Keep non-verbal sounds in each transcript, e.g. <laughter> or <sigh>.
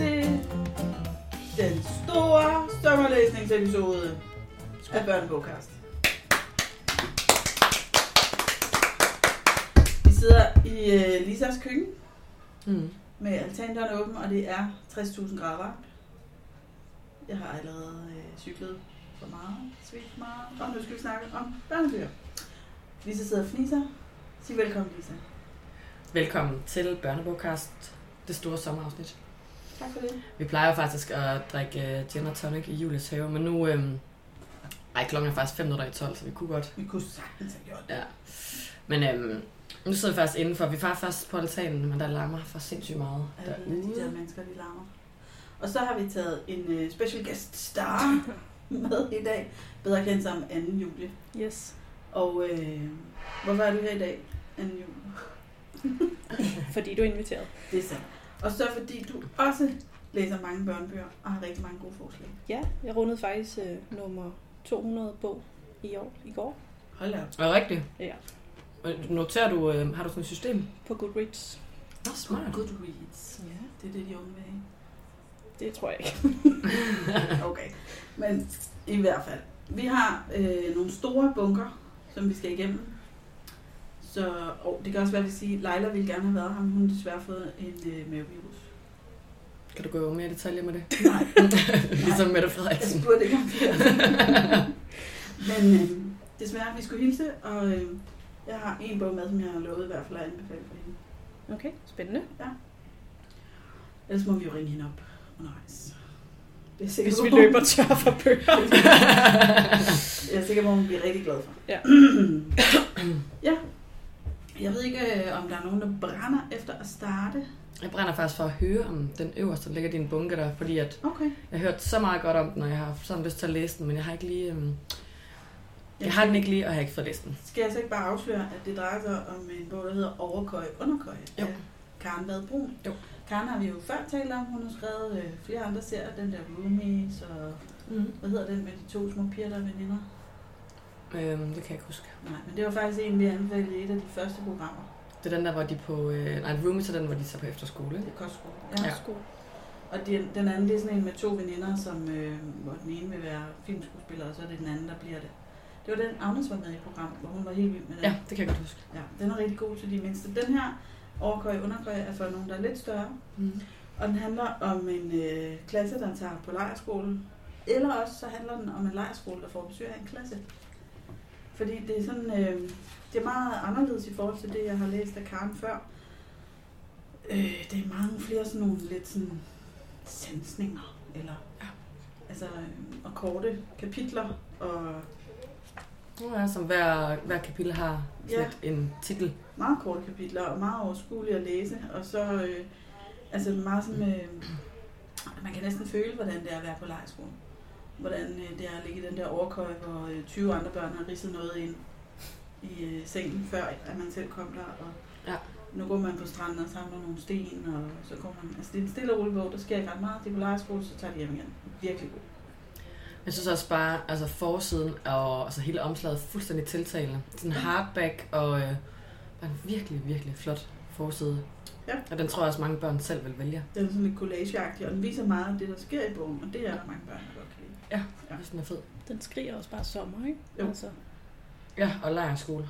øh, dagens episode af Børnebogkast. Vi sidder i øh, Lisas køkken Mm. med altandøren åben, og det er 60.000 grader varmt. Jeg har allerede øh, cyklet for meget, svedt meget, og nu skal vi snakke om børnebøger. Lisa sidder og fniser. Sig velkommen, Lisa. Velkommen til Børnebogkast, det store sommerafsnit. Tak for det. Vi plejer jo faktisk at drikke øh, gin og tonic i Julies have, men nu... Øhm, ej, klokken er faktisk 5 minutter i 12, så vi kunne godt. Vi kunne sagtens have gjort det. Ja. Men øhm, nu sidder vi faktisk indenfor. Vi er faktisk først på altanen, men der larmer for sindssygt meget Alle de der derude. mennesker, de larmer. Og så har vi taget en øh, special guest star <laughs> med i dag, bedre kendt som Anne Julie. Yes, Og øh, hvorfor er du her i dag, Anne Julie? fordi du er inviteret. Det er sandt. Og så fordi du også læser mange børnebøger og har rigtig mange gode forslag. Ja, jeg rundede faktisk øh, nummer 200 bog i år, i går Hold da op. Er det rigtigt? Ja. Øh, Noterer du, øh, har du sådan et system? på Goodreads. Nå, smart. Goodreads. Det Ja. er det, de unge vil have. Det tror jeg ikke. Okay. Men i hvert fald. Vi har øh, nogle store bunker, som vi skal igennem. Så og det kan også være, at vi siger, at Leila ville gerne have været ham. Hun har desværre fået en øh, mavevirus. Kan du gå mere i detaljer med det? <laughs> Nej, ligesom Mette jeg Frederiksen. spurgte ikke om det. Men øh, desværre, vi skulle hilse, og øh, jeg har en bog med, som jeg har lovet i hvert fald at anbefale for hende. Okay, spændende. Ellers må vi jo ringe hende op undervejs. Det er sikkert, Hvis vi løber tør for bøger. <laughs> Jeg er sikker på, at hun bliver rigtig glad for. Ja. <clears throat> ja. Jeg ved ikke, øh, om der er nogen, der brænder efter at starte. Jeg brænder faktisk for at høre om den øverste, der ligger i din bunke der, fordi at Okay. Jeg har hørt så meget godt om den, og jeg har haft sådan lyst til at læse den, men jeg har ikke lige... Øhm, jeg har den ikke lige, og jeg har ikke fået læst den. Skal jeg så ikke bare afsløre, at det drejer sig om en bog, der hedder Overkøje Underkøje Jo. af Karen Vadbrun? Jo. Karen har vi jo før talt om. Hun har skrevet øh, flere andre serier. Den der Roomies og... Mm. Hvad hedder den med de to små piger, der er veninder? Øhm, det kan jeg ikke huske. Nej, men det var faktisk en, vi anbefalede i et af de første programmer. Det er den der, hvor de er på... Øh, nej, Roomies er den, hvor de tager på efterskole. Det ikke? er kostskole. Ja. Sko. Og den, den anden, det er sådan en med to veninder, som, øh, hvor den ene vil være filmskuespiller, og så er det den anden, der bliver det. Det var den, Agnes var med i programmet, hvor hun var helt vild med den. Ja, det kan jeg godt huske. ja den er rigtig god til de mindste. Den her overkøje underkøje er for nogen, der er lidt større, Mm. og den handler om en øh, klasse, der tager på lejerskolen. Eller også så handler den om en lejerskole, der får besøg af en klasse. Fordi det er sådan, øh, det er meget anderledes i forhold til det, jeg har læst af Karen før. Øh, det er mange flere sådan nogle lidt sådan sansninger, eller Ja. altså, øh, og korte kapitler, og Nu er som hver, hver kapitel har Ja. sådan ja. en titel. meget korte kapitler, og meget overskuelige at læse, og så øh, altså meget sådan, øh, man kan næsten føle, hvordan det er at være på lejeskolen. Hvordan øh, det er at ligge i den der overkøje, hvor øh, 20 andre børn har ridset noget ind i øh, sengen, før at man selv kom der, og Ja. nu går man på stranden og samler nogle sten, og så kommer man, altså det er en stille og rolig bog, der sker ikke ret meget, det er på lejeskole, så tager de hjem igen. Virkelig god. Jeg synes også bare, altså forsiden og altså hele omslaget er fuldstændig tiltalende. Sådan hardback og øh, bare en virkelig, virkelig flot forside. Ja. Og den tror jeg også mange børn selv vil vælge. Den er sådan lidt collageagtig, og den viser meget af det, der sker i bogen, og det er der mange børn, der godt kan lide. Ja. Ja. Den er fed. Den skriger også bare sommer, ikke? Jo. Altså, Ja, og lejerskole.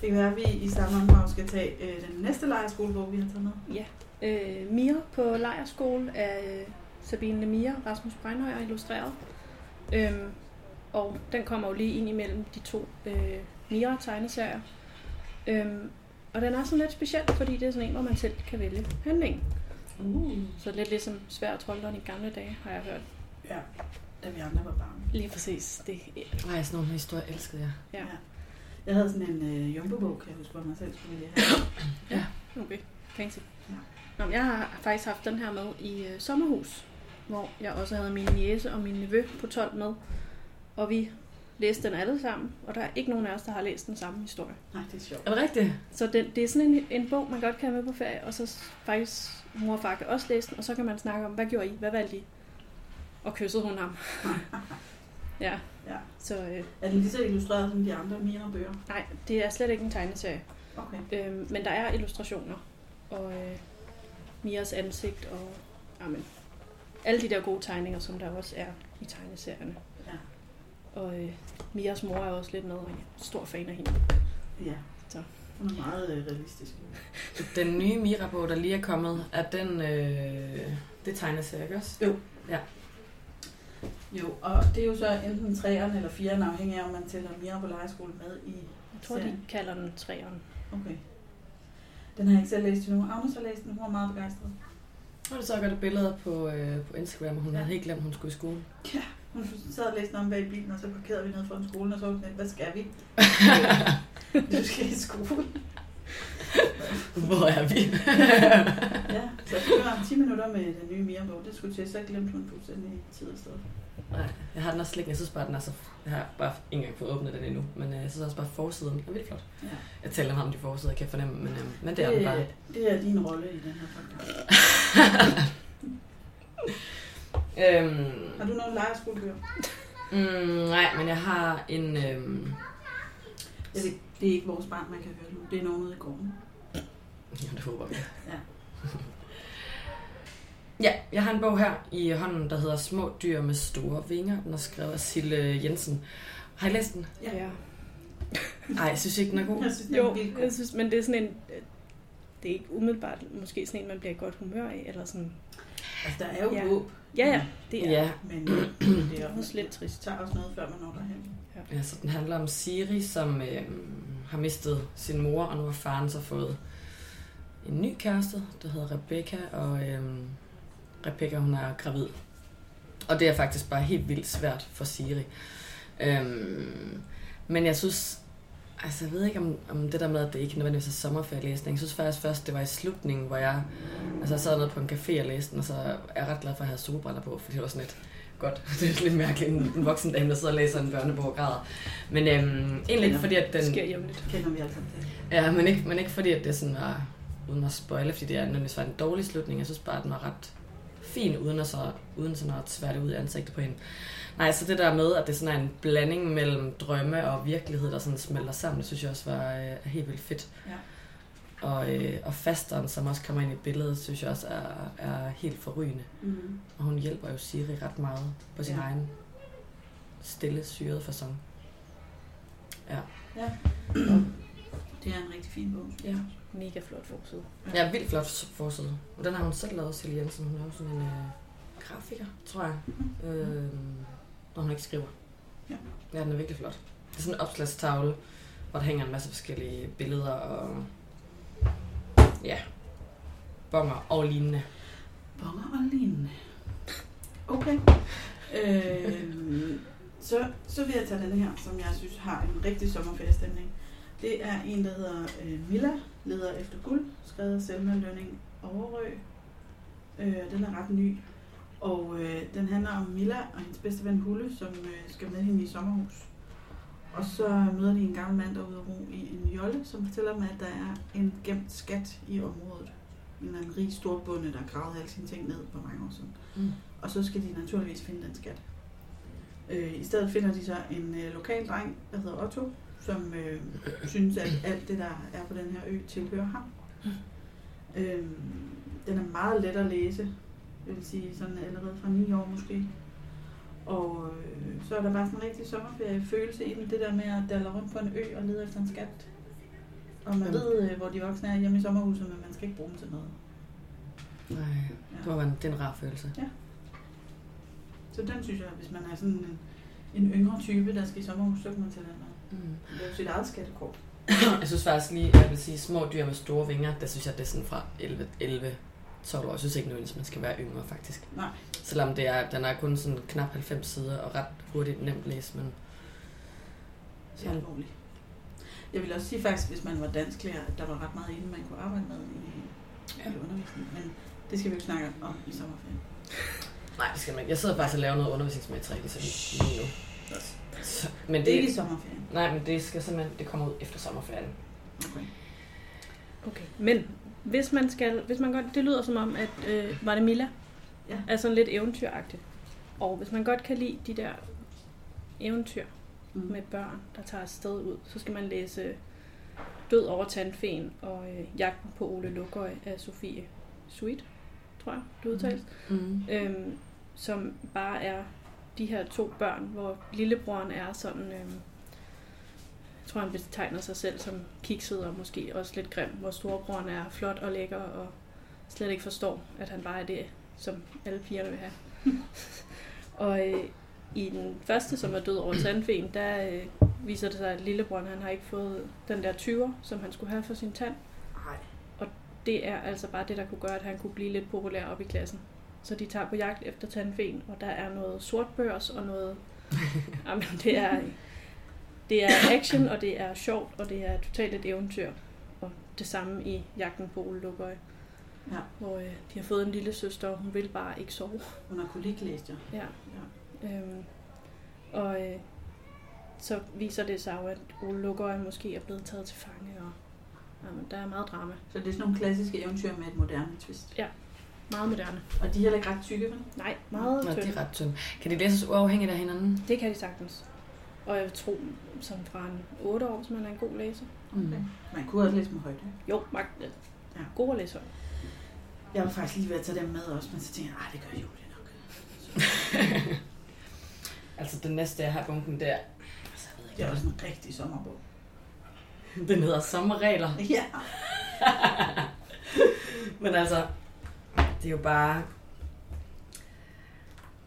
Det kan være, at vi i samme omgang skal tage øh, den næste lejerskole, hvor vi har taget med. øh, Mia på lejerskole af øh, Sabine Lemire og Rasmus Breinhøj og illustreret. Øhm, og den kommer jo lige ind imellem de to øh, Mira-tegneserier. Øhm, og den er sådan lidt speciel, fordi det er sådan en, hvor man selv kan vælge handlingen. Uh. Så lidt ligesom svær trolddom i gamle dage, har jeg hørt. Ja, da vi andre var barn. Lige præcis. Det, Ej, sådan nogle historier elskede jeg. ja, Jeg havde sådan en øh, jumbo-bog, kan jeg huske, hvor mig selv skulle vælge <coughs> have. okay. Fancy. Ja. Nå, men jeg har faktisk haft den her med i øh, sommerhus, hvor jeg også havde min niece og min nevø på 12 med. Og vi læste den alle sammen, og der er ikke nogen af os, der har læst den samme historie. Nej, det er sjovt. Er det rigtigt? Så den, det er sådan en, en bog, man godt kan have med på ferie, og så s- faktisk mor og far kan også læse den, og så kan man snakke om, hvad gjorde I, hvad valgte I? Og kyssede hun ham. ja. Ja. Så øh, Er den lige så illustreret som de andre Mira-bøger? nej, det er slet ikke en tegneserie. Okay. Øhm, men der er illustrationer og øh, Mias ansigt og jamen, alle de der gode tegninger, som der også er i tegneserierne. Ja. Og øh, Mias mor er også lidt med, og jeg er stor fan af hende. Ja. Så. Hun er meget øh, realistisk. Den nye Mira-bog, der lige er kommet, er den... Øh, det tegneserie, ikke også? Jo, og det er jo så enten træerne eller firerne, afhængig af, om man tæller Mira på lejeskole med i... Jeg tror, de serien. kalder den træeren. Okay. Den har jeg ikke selv læst endnu. Agnes har læst den, hun var meget begejstret. Og det så godt et billede på, øh, på Instagram, og hun Ja. ja. havde helt glemt, hun skulle i skole. <laughs> Hun sad og læste den om bag i bilen, og så parkerede vi ned foran skolen, og så var hun sådan, lidt, hvad skal <laughs> vi? du skal i skole. Hvor er vi? ja, så det var 10 minutter med den nye Mira-bog. Det skulle til, så glemte hun fuldstændig tid og sted. Nej, jeg har den også liggende. Jeg synes bare, den er så... Jeg har bare ikke engang fået åbnet den endnu, men øh, jeg synes også bare, forsiden er vildt flot. Ja. Jeg taler meget om de forsider, kan jeg fornemme, men, øh, men det er den bare. det er din rolle i den her podcast. Øhm, Har du nogen lejerskolebøger? mm, nej, men jeg har en... Øhm, Jeg ved, det er ikke vores barn, man kan høre nu. Det er nogen ude i gården. Ja, det håber vi. Ja. <laughs> ja, jeg har en bog her i hånden, der hedder Små dyr med store vinger. Den er skrevet af Sille Jensen. Har I læst den? Ja. Nej, jeg synes ikke, den er god. Jeg synes, det er Jo, jo. vildt jeg god. synes, men det er sådan en... øh, Det er ikke umiddelbart måske sådan en, man bliver i godt humør af, eller sådan... Altså, der er jo Ja. ja. håb, Ja, ja, det er. Ja, men øh, det er Det er også lidt trist. Det tager også noget, før man når derhen. altså den handler om Siri, som øh, har mistet sin mor, og nu har faren så fået en ny kæreste, der hedder Rebecca, og øh, Rebecca hun er gravid. Og det er faktisk bare helt vildt svært for Siri. Øhm, men jeg synes, altså jeg ved ikke om, om det der med, at det ikke nødvendigvis er sommerferielæsning. Jeg synes faktisk først, det var i slutningen, hvor jeg, altså jeg sad nede på en café og læste den, og så er jeg ret glad for, at jeg havde solbriller på, fordi det var sådan lidt godt. <laughs> Det er lidt mærkeligt, en, en voksen dame, der sidder og læser en børnebog og græder. Men øhm, egentlig ikke fordi, at Det den, sker jævnligt. Kender vi alle sammen det. Ja, men ikke, men ikke fordi, at det sådan var, uden at spoile, fordi det er nødvendigvis var en dårlig slutning. Jeg synes bare, at den var ret fin, uden, at så, uden sådan at tvære det ud i ansigtet på hende. Nej, så det der med, at det sådan er en blanding mellem drømme og virkelighed, der sådan smelter sammen, det synes jeg også var øh, helt vildt fedt. Ja. Og, øh, og fasteren, som også kommer ind i billedet, synes jeg også er, er helt forrygende. Mm. Og hun hjælper jo Siri ret meget på sin Ja. ja. egen stille, syrede fasong. Det er en rigtig fin bog. Ja. Mega flot forside. Ja, vildt flot forside. Og den har hun selv lavet, Silje Jensen. Hun er jo sådan en øh, grafiker, tror jeg. Øh, når hun ikke skriver. Ja. ja, den er virkelig flot. Det er sådan en opslagstavle, hvor der hænger en masse forskellige billeder og... Ja, bonger og lignende. Bonger og lignende. Okay. Øh, så, så vil jeg tage den her, som jeg synes har en rigtig sommerferiestemning. Det er en, der hedder øh, Milla, leder efter guld, skrevet af Selma Lønning Overø. Øh, den er ret ny. Og øh, den handler om Milla og hendes bedste ven Hulle, som øh, skal med hende i sommerhus. Og så møder de en gammel mand, der er ude at ro i en jolle, som fortæller dem, at der er en gemt skat i området. En eller anden rig storbonde, der har gravet alle sine ting ned for mange år siden. Mm. Og så skal de naturligvis finde den skat. Øh, I stedet finder de så en øh, lokal dreng, der hedder Otto, som øh, synes, at alt det, der er på den her ø, tilhører ham. Øh, den er meget let at læse, jeg vil sige sådan allerede fra 9 år måske. Og øh, så er der bare sådan en rigtig sommerferiefølelse i den, det der med at dalle rundt på en ø og lede efter en skat. Og man Mm. ved, øh, hvor de voksne er hjemme i sommerhuset, men man skal ikke bruge dem til noget. Nej, det Ja. var en, det er en rar følelse. Så den synes jeg, hvis man er sådan en, en yngre type, der skal i sommerhus, så kan man tage den med. Mm. Det er jo sit eget skattekort. Jeg synes faktisk lige, jeg vil sige, små dyr med store vinger, der synes jeg, det er sådan fra 11, 11 12 år. Jeg synes ikke nødvendigvis, man skal være yngre, faktisk. Nej. Selvom det er, den er kun sådan knap 90 sider og ret hurtigt nemt læst, men... Så er Ja. det roligt. Jeg vil også sige faktisk, hvis man var dansklærer, at der var ret meget inden, man kunne arbejde med i, ja. i undervisningen. Men det skal vi jo ikke snakke om i sommerferien. Nej, det skal man ikke. Jeg sidder faktisk og laver noget undervisningsmateriale så lige nu. Så, men Det er ikke det, i sommerferien. nej, men det skal simpelthen, det kommer ud efter sommerferien. Okay. Okay. Men hvis man skal, hvis man godt, det lyder som om, at øh, var det Milla? Ja. Er sådan lidt eventyragtigt. Og hvis man godt kan lide de der eventyr Mm. med børn, der tager afsted ud, så skal man læse Død over tandfen og øh, Jagten på Ole Lukøj af Sofie Sweet, tror jeg, det udtales. Mm. Øhm, som bare er de her to børn, hvor lillebroren er sådan, øh, jeg tror han betegner sig selv som kikset og måske også lidt grim, hvor storebroren er flot og lækker og slet ikke forstår, at han bare er det, som alle pigerne vil have. og øh, i den første, som er død over tandfen, der øh, viser det sig, at lillebroren han har ikke fået den der 20'er, som han skulle have for sin tand. Nej. Det er altså bare det, der kunne gøre, at han kunne blive lidt populær op i klassen. Så de tager på jagt efter tandfen, og der er noget sortbørs <laughs> og noget... Jamen, det er, det er action, og det er sjovt, og det er totalt et eventyr. Og det samme i jagten på Ole Lukøje. Ja. Hvor øh, de har fået en lille søster, og hun vil bare ikke sove. Hun har koliklæst, jo. Ja. Ja. Øhm, og øh, så viser det sig jo, at Ole Lukøje måske er blevet taget til fange, og jamen, der er meget drama. Så det er sådan nogle klassiske eventyr med et moderne twist. Meget moderne. Og de er heller ikke ret tykke, vel? Nej, meget Nå, det tynde. er ret tyndt. Kan de læses uafhængigt af hinanden? Det kan de sagtens. Og jeg vil tro, som fra en 8 år, hvis man er en god læser. Mm. Man kunne også læse dem højt. Jo, magt. Ja. Ja. God at læse højt. Jeg var faktisk lige ved at tage dem med også, men så tænkte jeg, at det gør Julie nok. Altså den næste, jeg har i bunken, der. Altså, jeg ved Det er ikke, også en rigtig sommerbog. hvad- den hedder Sommerregler. Ja. Men altså, det er jo bare...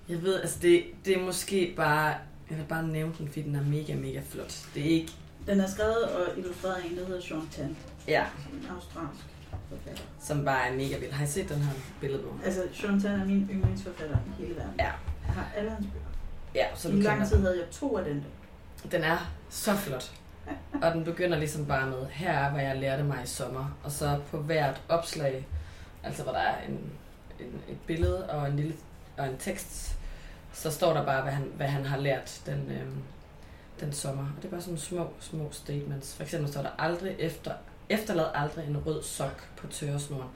Jeg ved, altså det, det er måske bare... Jeg vil bare nævne den, fordi den er mega, mega flot. Det er ikke... Den er skrevet og illustreret af en, der hedder Sean Tan, Ja, en australsk forfatter. som bare er mega vild. Har I set den her billedbog? Altså, Sean Tan er min yndlingsforfatter i hele verden. Ja. Jeg har alle hans bøger. Ja, så I du lang kender tid havde jeg to af den der. Den er så flot. Og den begynder ligesom bare med, her er, hvad jeg lærte mig i sommer. Og så på hvert opslag, altså hvor der er en, en, et billede og en lille og en tekst, så står der bare, hvad han, hvad han har lært den, øhm, den sommer. Og det er bare sådan små, små statements. For eksempel står der aldrig efter, efterlad aldrig en rød sok på tørresnoren.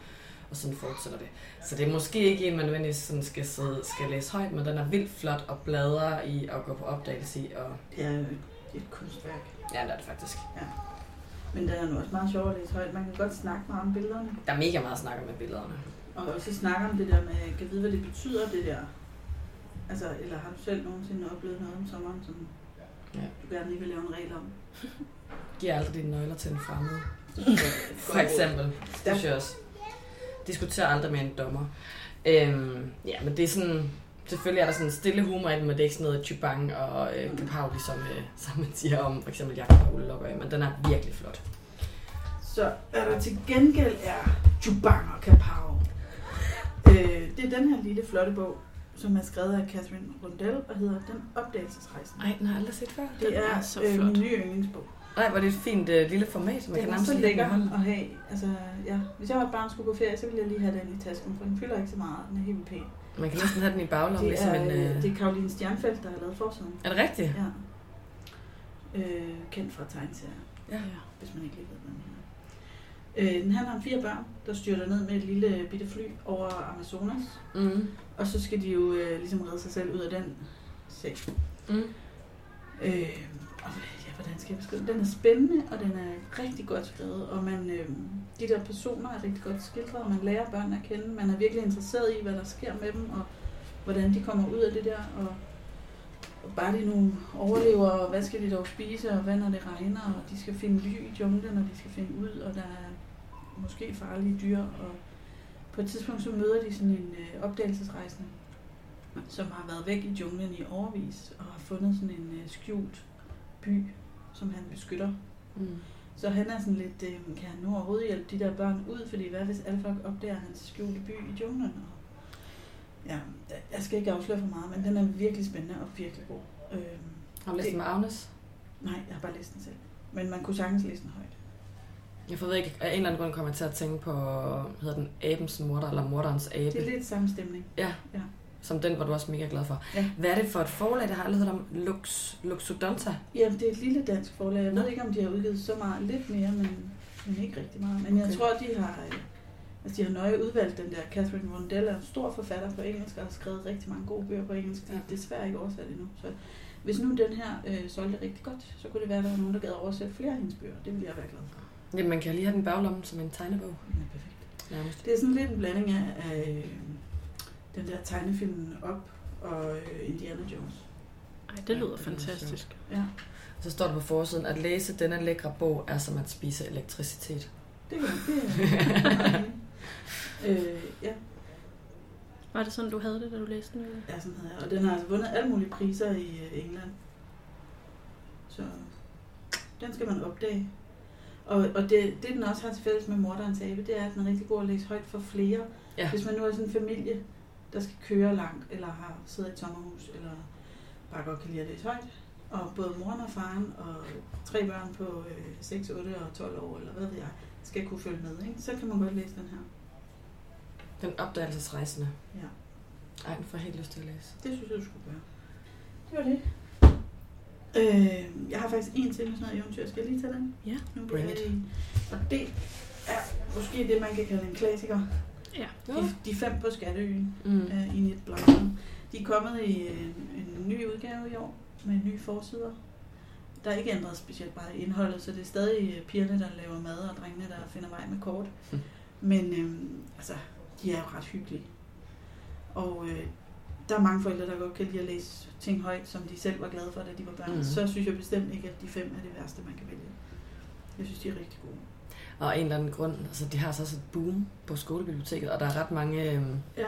Og sådan fortsætter det. Så det er måske ikke en, man nødvendigvis sådan skal, sidde, skal læse højt, men den er vildt flot og bladrer i og går på opdagelse i. Og Det er jo et- det er et kunstværk. Ja, det er det faktisk. Men den er nu også meget sjov at læse højt. Man kan godt snakke meget om billederne. Der er mega meget snak om med billederne. Og også snakke om det der med, kan vide, hvad det betyder, det der. Altså, eller har du selv nogensinde oplevet noget om sommeren, som Ja. du gerne lige vil lave en regel om? Giv aldrig dine nøgler til en fremmed. Det synes jeg er et <laughs> For godt eksempel. Det synes jeg også. Diskuter aldrig med en dommer. Øhm, ja, men det er sådan... Selvfølgelig er der sådan stille humor i den, men det er ikke sådan noget chibang og øh, Capaldi, som, øh, <laughs> som man siger om for eksempel Jakob og Ole Lukøje, men den er virkelig flot. Så er der til gengæld er Jubang og Kapow. Øh, det er den her lille flotte bog, som er skrevet af Catherine Rundell og hedder Den opdagelsesrejsen. Nej, den har jeg aldrig set før. Det den er, er så øh, flot. min nye yndlingsbog. Nej, hvor er det et fint øh, lille format, som man Den kan er så nærmest lægge i lækker hånden. at have. Altså, ja. Hvis jeg var et barn og skulle gå ferie, så ville jeg lige have den i tasken, for den fylder ikke så meget. Den er helt pæn. Man kan næsten have den i baglommen, Det ligesom er, en... øh, Øh... det er Karoline Stjernfeldt, der har lavet forsiden. Er det rigtigt? Ja. Øh, kendt fra tegneserier. Ja. hvis man ikke lige ved, hvad den hedder. Øh, den handler om fire børn, der styrter ned med et lille øh, bitte fly over Amazonas. Mm. Og så skal de jo øh, ligesom redde sig selv ud af den sag. Mm. Øh, og, ja, hvordan skal jeg beskrive den? Den er spændende, og den er rigtig godt skrevet. Og man, øh, de der personer er rigtig godt skildret, og man lærer børn at kende. Man er virkelig interesseret i, hvad der sker med dem, og hvordan de kommer ud af det der. Og, og bare de nu overlever, og hvad skal de dog spise, og hvad når det regner, og de skal finde ly i junglen, og de skal finde ud, og der er måske farlige dyr. Og på et tidspunkt så møder de sådan en øh, opdagelsesrejsende, som har været væk i junglen i overvis, og har fundet sådan en øh, skjult by, som han beskytter. Mm. Så han er sådan lidt, øh, kan han nu overhovedet hjælpe de der børn ud, fordi hvad hvis alle folk opdager hans skjulte by i junglen? Og Ja, jeg skal ikke afsløre for meget, men den er virkelig spændende og virkelig god. Øh, Har du læst den med Agnes? nej, jeg har bare læst den selv. Men man kunne sagtens læse den højt. Jeg ved ikke, af en eller anden grund kommer jeg til at tænke på, hedder den Abens Morder, eller Morderens Abe, Det er lidt samme stemning. som den var du også mega glad for. Ja. Hvad er det for et forlag, der har aldrig hørt om Lux, Luxodonta? Jamen, det er et lille dansk forlag. Jeg ved ikke, om de har udgivet så meget. Lidt mere, men, men ikke rigtig meget. Men okay. jeg Okay. tror, de har, øh, altså, de har nøje udvalgt den der. Catherine Rundell er en stor forfatter på engelsk, og har skrevet rigtig mange gode bøger på engelsk. De er Ja. desværre ikke oversat endnu. Så hvis nu den her øh, solgte rigtig godt, så kunne det være, at der var nogen, der gad oversætte flere af hendes bøger. Det ville jeg være glad for. Jamen, man kan lige have den i baglommen som en tegnebog, Den er perfekt. nærmest. Det er sådan lidt en blanding af, af øh, den der tegnefilm op og øh, Indiana Jones. Ej, Ja, det lyder det lyder fantastisk. Ja, Så står der på forsiden, at læse denne lækre bog er som at spise elektricitet. det kan det <laughs> er øh, ja, Var det sådan, du havde det, da du læste den? Julie? ja, sådan havde jeg. Og den har altså vundet alle mulige priser i øh, England. Så den skal man opdage. Og, og det, det, den også har til fælles med Morderens Abe, det er, at den er rigtig god at læse højt for flere. Ja. Hvis man nu er sådan en familie, der skal køre langt, eller har sidder i et sommerhus, eller bare godt kan lide at læse højt, og både moren og faren og tre børn på øh, 6, 8 og 12 år, eller hvad ved jeg, skal kunne følge med, ikke? så kan man godt læse den her. Den opdagelsesrejsende. Ja. Ej, nu får jeg helt lyst til at læse. Det synes jeg, du skulle gøre. Det var det. Øh, jeg har faktisk en til med sådan noget eventyr. Skal jeg lige tage den? Ja, nu bring bliver it. det en. Og det er måske det, man kan kalde en klassiker. Ja. De, de fem på Skatteøen Mm. øh, i Net Blomstrøm. De er kommet i en, en ny udgave i år med nye forsider. Der er ikke ændret specielt bare i indholdet, så det er stadig øh, pigerne, der laver mad, og drengene, der finder vej med kort. Mm. Men øhm, altså, de er jo ret hyggelige. Og øh, der er mange forældre, der godt kan lide at læse ting højt, som de selv var glade for, da de var børn. Mhm. Mm. Så synes jeg bestemt ikke, at de fem er det værste, man kan vælge. Jeg synes, de er rigtig gode. Og af en eller anden grund, altså de har så også et boom på skolebiblioteket, og der er ret mange, øhm, Ja.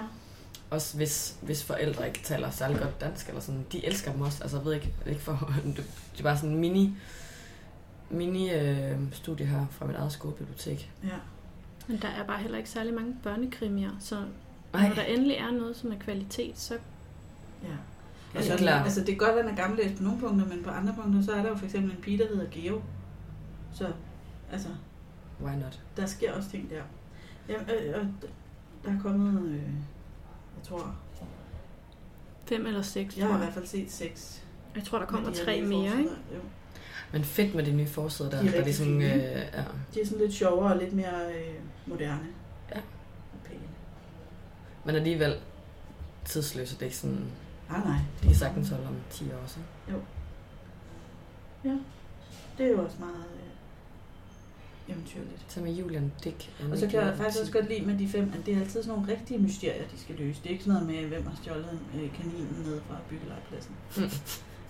også hvis, hvis forældre ikke taler særlig godt dansk, eller sådan, de elsker dem også, altså jeg ved ikke, ikke for, <laughs> det er bare sådan en mini, mini øh, studie her fra mit eget skolebibliotek. Ja. Men der er bare heller ikke særlig mange børnekrimier, så når der Nej, endelig er noget, som er kvalitet, så ja. Og jeg så, er klar. altså, det kan godt være, at den er gammeldags på nogle punkter, men på andre punkter, så er der jo for eksempel en pige, der hedder Geo. Så altså, Why not? der sker også ting der. Ja, øh, og d- der er kommet, øh, jeg tror, fem eller seks, jeg tror har i jeg. hvert fald set seks. Jeg tror, der kommer med de her tre nye mere, ikke? forsider. Jo. Men fedt med de nye forsider der, De er der rigtig ligesom, øh, fine. ja. De er sådan lidt sjovere og lidt mere øh, moderne. Ja. Og pæne. men alligevel tidsløse, det er ikke sådan, Nej, Ah, nej. de kan sagtens holde om 10 år, så. Det er jo også meget øh, eventyrligt. Tag med Julian Dick. Og så kan jeg faktisk også godt lide med de fem, at det er altid sådan nogle rigtige mysterier, de skal løse. Det er ikke sådan noget med, hvem har stjålet øh, kaninen nede fra <laughs> byggelejpladsen. Mm.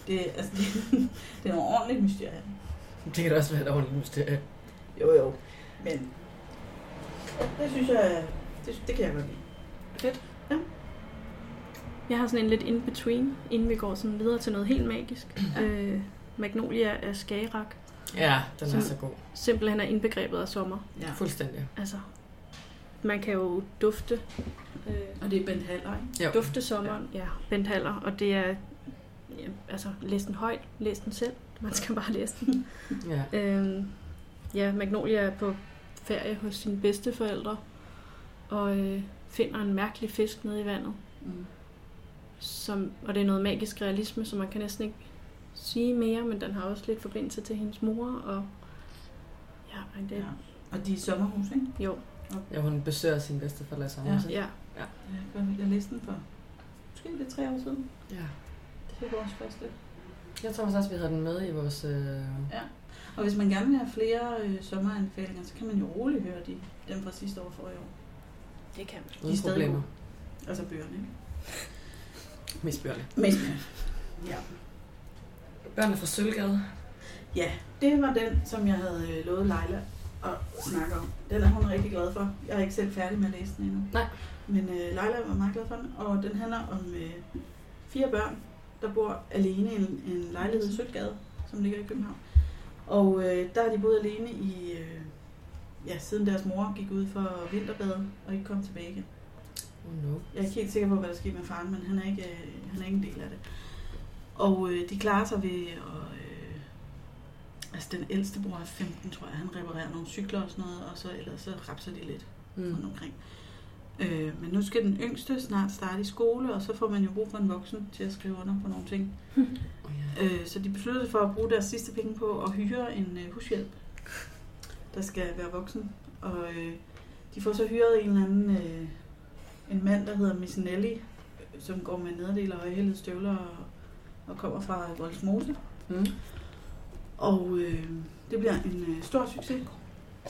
Det, er- altså, det, <laughs> det er nogle ordentlige mysterier. Det kan da også være et ordentligt mysterie. Jo, jo. Men det synes jeg, det, det kan jeg godt lide. Jeg har sådan en lidt in-between, inden vi går sådan videre til noget helt magisk. Ja. Øh, Magnolia af Skagerak Ja, den er Som- så god. simpelthen er indbegrebet af sommer. Ja. Fuldstændig. Altså, man kan jo dufte, øh, Og det er Bent Haller, ikke? Jo. dufte sommeren. Ja, Bent Haller, og det er, ja, altså, læs den højt, læs den selv. Man skal bare læse den. Ja. Øh, ja, Magnolia er på ferie hos sine bedsteforældre, og øh, finder en mærkelig fisk nede i vandet. Mm. Som, og det er noget magisk realisme, så man kan næsten ikke sige mere, men den har også lidt forbindelse til hendes mor, og ja, men det, Ja. Og de er i sommerhus, ikke? jo, ja, hun besøger sin bedsteforældre i sommer. Ja. ja, Ja, jeg læste den for måske det er tre år siden. ja. Det var vores første Jeg tror også, vi havde den med i vores... Øh... Og hvis man gerne vil have flere øh, sommeranbefalinger, så kan man jo roligt høre de, dem fra sidste år for i år. det kan man. er Uden stadig problemer. Altså bøgerne, ikke? Mest børnene. Men ja. Børnene fra Sølvgade. ja, det var den, som jeg havde øh, lovet Leila at snakke om. Den er hun rigtig glad for. Jeg er ikke selv færdig med at læse den endnu. Nej. Men øh, Leila var meget glad for den, og den handler om øh, fire børn, der bor alene i en, en lejlighed i Sølvgade, som ligger i København. Og øh, der har de boet alene i, øh, ja, siden deres mor gik ud for vinterbade og ikke kom tilbage igen. Oh no. Jeg er ikke helt sikker på, hvad der skete med faren, men han er ikke, øh, han er ikke en del af det. Og øh, de klarer sig ved at... Øh, altså, den ældste bror er 15, tror jeg. Han reparerer nogle cykler og sådan noget, og så, ellers så rapser de lidt rundt Mm. omkring. Øh, men nu skal den yngste snart starte i skole, og så får man jo brug for en voksen til at skrive under på nogle ting. Oh, ja. Øh, så de beslutter sig for at bruge deres sidste penge på at hyre en øh, hushjælp, der skal være voksen. Og øh, de får så hyret en eller anden øh, en mand, der hedder Missinelli, øh, som går med nederdel og højhældede støvler og, og kommer fra Voldsmose. Mm. Og øh, det bliver en øh, stor succes.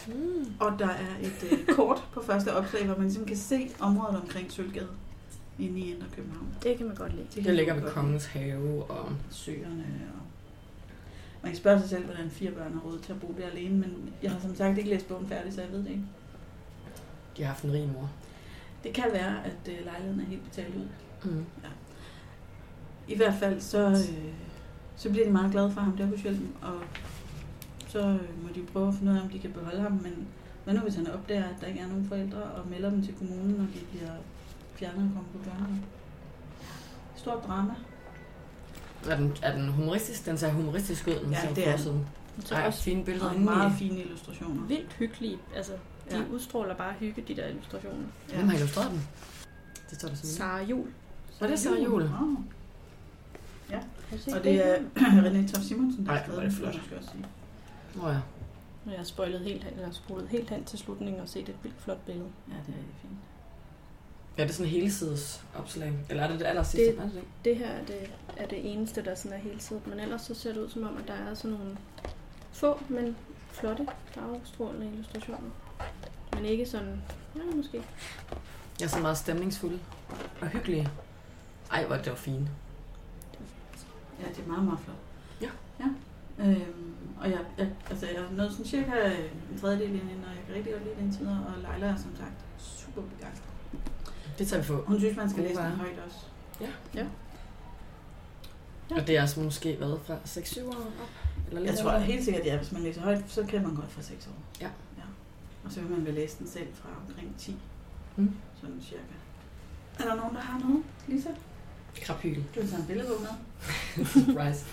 Mm. Og der er et øh, kort på første opslag, hvor man ligesom kan se området omkring Sølvgade. inde i Indre København. Det kan man godt lide. kan Det ligger man ved godt Kongens Have, og lide. Søerne og... Man kan spørge sig selv, hvordan fire børn har råd til at bo der alene, men jeg har som sagt ikke læst bogen færdig, så jeg ved det ikke. de har haft en rig mor. Det kan være, at øh, lejligheden er helt betalt ud. Mm. I hvert fald, så, øh, så bliver de meget glade for ham der hos hjælpen, og så øh, må de prøve at finde ud af, om de kan beholde ham, men hvad nu hvis han opdager, at der ikke er nogen forældre, og melder dem til kommunen, og de bliver fjernet og kommer på børnene. Stort drama. Er den, er den humoristisk? Den ser humoristisk ud, den Ja, ser det er den. forsiden. Så Der er også fine billeder Og inde meget i. fine illustrationer. vildt hyggelige. Altså, de Ja. udstråler bare hygge, de der illustrationer. Hvem har illustreret den? Det står der sådan. Sara Jul. Og det er Sara Juhl. Wow. Og det er <clears throat> René Tof Simonsen, der Ej, har skrevet hvor er den, skal det flot. jeg måske også sige. Nå ja. Jeg har spoilet helt hen, eller spolet helt hen til slutningen og set et vildt flot billede. Ja, det er rigtig fint. Ja, det er sådan en helsides opslag. Eller er det det aller sidste? Det- Er det det? Det her er det, er det eneste, der sådan er hele tiden. Men ellers så ser det ud som om, at der er sådan nogle få, men flotte, farvestrålende illustrationer. Men ikke sådan, ja, måske. Jeg er så meget stemningsfuld og hyggelig. Ej, hvor er det var fint. Ja, det er meget, meget flot. Ja. ja. Øhm, og jeg, jeg, altså, jeg er nået sådan cirka øh, en tredjedel ind, og jeg kan rigtig godt lide den tid, og Leila er som sagt super begejstret. Det tager vi på. Hun synes, man skal Gode læse den varer. højt også. Og det er altså måske været fra 6-7 år op? Eller lidt Jeg tror over. helt sikkert, at ja, hvis man læser højt, så kan man godt fra 6 år. Ja. ja. Og så vil man vel læse den selv fra omkring 10. Mm. Sådan cirka. Er der nogen, der har noget, Lisa? Krabhyl. Du vil tage en billedbog med? <laughs> Surprise.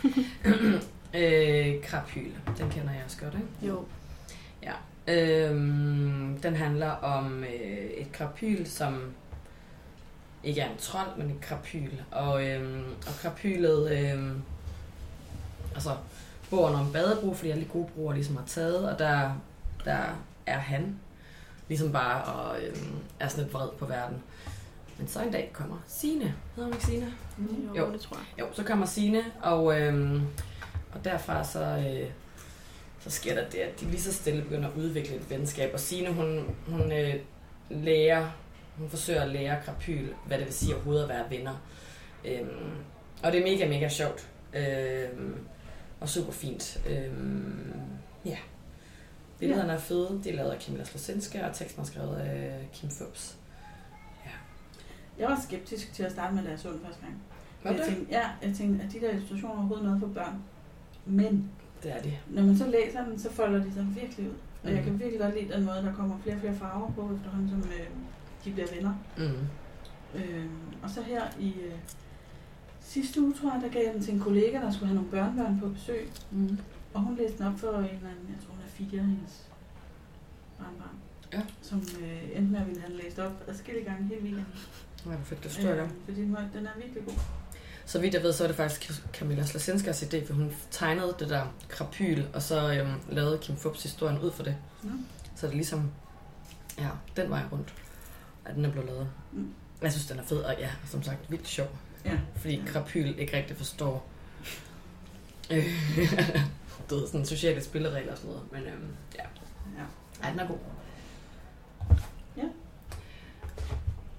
øh, krabhyl. Den kender jeg også godt, ikke? Jo. Øhm, den handler om øh, et krabhyl, som ikke er en trold, men et krabhyl. Og, øhm, og krabhylet øhm, altså, bor under en badebro, fordi alle de gode broer ligesom har taget, og der, der er han ligesom bare og øhm, er sådan lidt vred på verden. Men så en dag kommer Sine. Hedder hun ikke Sine? Mm. Jo, Jo. jo. det tror jeg. Jo, så kommer Sine, og, øhm, og derfra så, øh, så sker der det, at de lige så stille begynder at udvikle et venskab. Og Sine, hun, hun øh, lærer, hun forsøger at lære Krapyl, hvad det vil sige overhovedet at være venner. Øhm, og det er mega, mega sjovt. Øhm, og super fint. Øhm, ja. Billederne er fede. De er lavet af Camilla Slosinska, og teksten er skrevet af Kim Fubs. Jeg var skeptisk til at starte med, da jeg så den første gang. Var jeg det? tænkte, ja, jeg tænkte, at de der illustrationer overhovedet noget for børn. Men Det er det. Når man så læser dem, så folder de sig virkelig ud. Og jeg Mhm. kan virkelig godt lide den måde, der kommer flere og flere farver på, efterhånden som øh, de bliver venner. Mm. Øh, og så her i øh, sidste uge, tror jeg, der gav jeg den til en kollega, der skulle have nogle børnebørn på besøg. Mm. Og hun læste den op for en eller anden, jeg tror hun er fire, hendes barnbarn. Ja. Som øh, endte med at ville have den læst op adskillige gange hele weekenden. Øh, Ja, hvor fedt, det står jeg. fordi den, var- den er virkelig god. Så vidt jeg ved, så er det faktisk Camilla Slasinskas idé, for hun tegnede det der krapyl, og så øhm, lavede Kim Fubs historien ud for det. Nå. Så det er ligesom, ja, den vej rundt, at den er blevet lavet. Mm. Jeg synes, den er fed, og ja, som sagt, vildt sjov. Ja. Fordi krapyl ikke rigtig forstår <laughs> øh, du ved, sådan sociale spilleregler og sådan noget. Men øhm, ja, ja. Ej, den er god.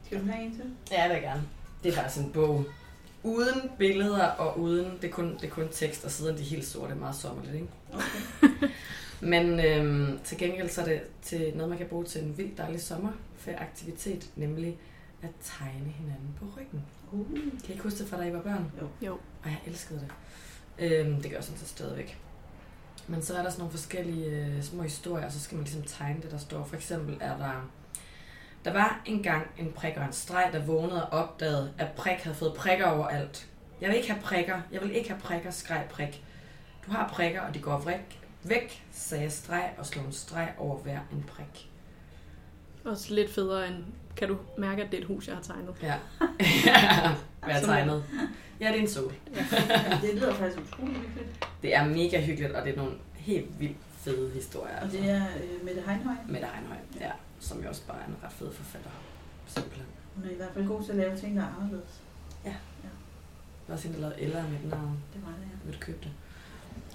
Skal du have en til? Ja, det vil jeg gerne. Det er faktisk en bog. Uden billeder og uden, det er kun, det er kun tekst, og siderne de er helt sorte, meget sommerligt, ikke? Okay. Men øhm, til gengæld så er det til noget, man kan bruge til en vildt dejlig sommerferieaktivitet, nemlig at tegne hinanden på ryggen. Uh. Kan I ikke huske det fra, da I var børn? Jo. Og jeg elskede det. Øhm, det gør jeg sådan set stadigvæk. Men så er der sådan nogle forskellige øh, små historier, og så skal man ligesom tegne det, der står. For eksempel er der... Der var engang en prik og en streg, der vågnede og opdagede, at prik havde fået prikker over alt. Jeg vil ikke have prikker. Jeg vil ikke have prikker, skreg prik. Du har prikker, og de går væk, væk sagde streg og slog en streg over hver en prik. <laughs> Også lidt federe end, kan du mærke, at det er et hus, jeg har tegnet? Ja. ja. Hvad Som- tegnet? Ja, det er en sol. Det lyder faktisk utroligt hyggeligt. Det er mega hyggeligt, og det er nogle helt vildt fede historier. Og Altså. det er øh, Mette Heinhøj. Mette Heinhøj, ja, som jo også bare er en ret fed forfatter. Simpelthen. Hun er i hvert fald god til at lave ting, der er anderledes. Det var også hende, der lavede Ella med den navn. Det var det, ja. Vil du købe det?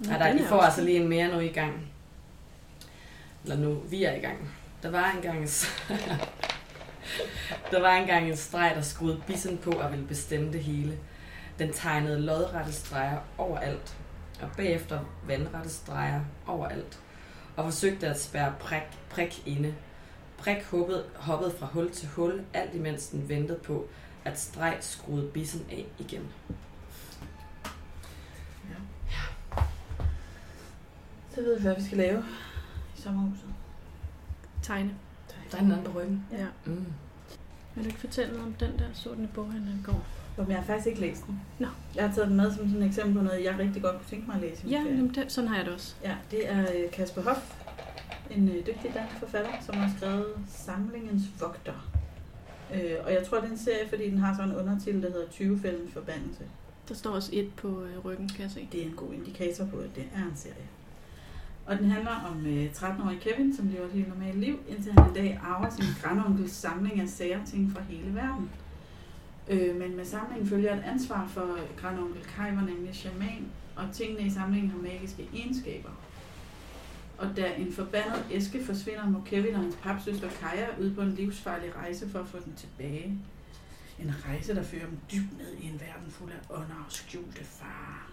Ja, der, I får altså lige en mere nu i gang. Eller nu, vi er i gang. Der var engang en... s- <laughs> Der var engang en streg, der skruede bissen på og ville bestemme det hele. Den tegnede lodrette streger overalt, og bagefter vandrette streger overalt, og forsøgte at spærre prik, prik inde. Prik hoppede, hoppede fra hul til hul, alt imens den ventede på, at streg skruede bissen af igen. Så ved vi, hvad vi skal lave i sommerhuset. Tegne. Der er en anden på ryggen. Ja. Mm. Vil du ikke fortælle noget om den der så den i boghandlen i går? Jamen, jeg har faktisk ikke læst den. Nå. Jeg har taget den med som sådan et eksempel på noget, jeg rigtig godt kunne tænke mig at læse. i min Ja, ferie. jamen, det, sådan har jeg det også. Ja, det er øh, Kasper Hoff, en øh, dygtig dansk forfatter, som har skrevet Samlingens Vogter. Øh, og jeg tror, det er en serie, fordi den har sådan en undertitel, der hedder 20-fældens forbandelse. Der står også et på øh, ryggen, kan jeg se. Det er en god indikator på, at det er en serie. Og den handler om øh, 13-årige Kevin, som lever et helt normalt liv, indtil han i dag arver sin grandonkels samling af sære ting fra hele verden. Øh, men med samlingen følger et ansvar for grandonkel Kai, var nemlig shaman, og tingene i samlingen har magiske egenskaber. Og da en forbandet æske forsvinder, må Kevin og hans papsøster Kaja ud på en livsfarlig rejse for at få den tilbage. En rejse, der fører dem dybt ned i en verden fuld af ånder og skjulte farer.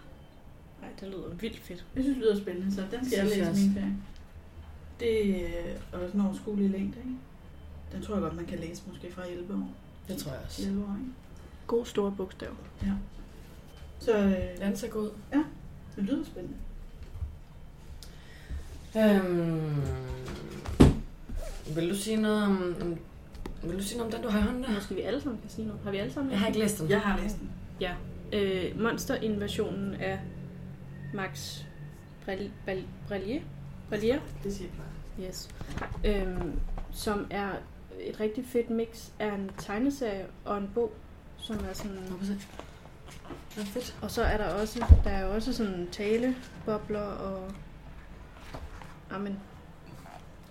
Nej, det lyder vildt fedt. Jeg synes, det lyder spændende, så den skal jeg Synes jeg læse også. i min ferie. Det øh, er også en overskuelig længde, ikke? Den tror jeg godt, man kan læse måske fra 11 år. Det tror jeg også. 11 år ikke? God store bogstav. Så øh, Den ser god ud. det lyder spændende. Øhm, vil du sige noget om, om, vil du sige noget om den, du har i hånden der? Måske vi alle sammen kan sige noget. Har vi alle sammen Jeg har ikke læst den. Jeg har læst den. øh, monsterinvasionen af Max Brel- Bal- Brelier, Brelier Det siger jeg bare. yes. øhm, som er et rigtig fedt mix af en tegneserie og en bog, som er sådan... Nå, præcis. Ja, fedt. Og så er der også, der er jo også sådan talebobler og... Amen.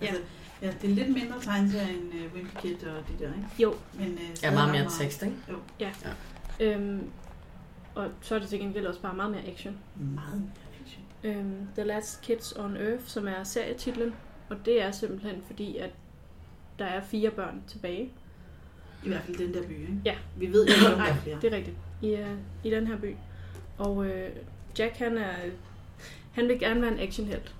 Ja. Altså, ja, det er lidt mindre tegneserie end øh, Wimpy Kid og de der, ikke? Jo, Men, øh, Ja, stadig meget ret mere tekst, ikke? øhm, og så er det til gengæld også bare meget mere action. Meget mere action. Øhm, The Last Kids on Earth, som er serietitlen, og det er simpelthen fordi, at der er fire børn tilbage, I hvert fald den der by, ikke? Ja. Vi ved ikke, om der Nej, er flere. det er rigtigt. I, øh, i den her by. Og øh, Jack, han er... Han vil gerne være en actionhelt.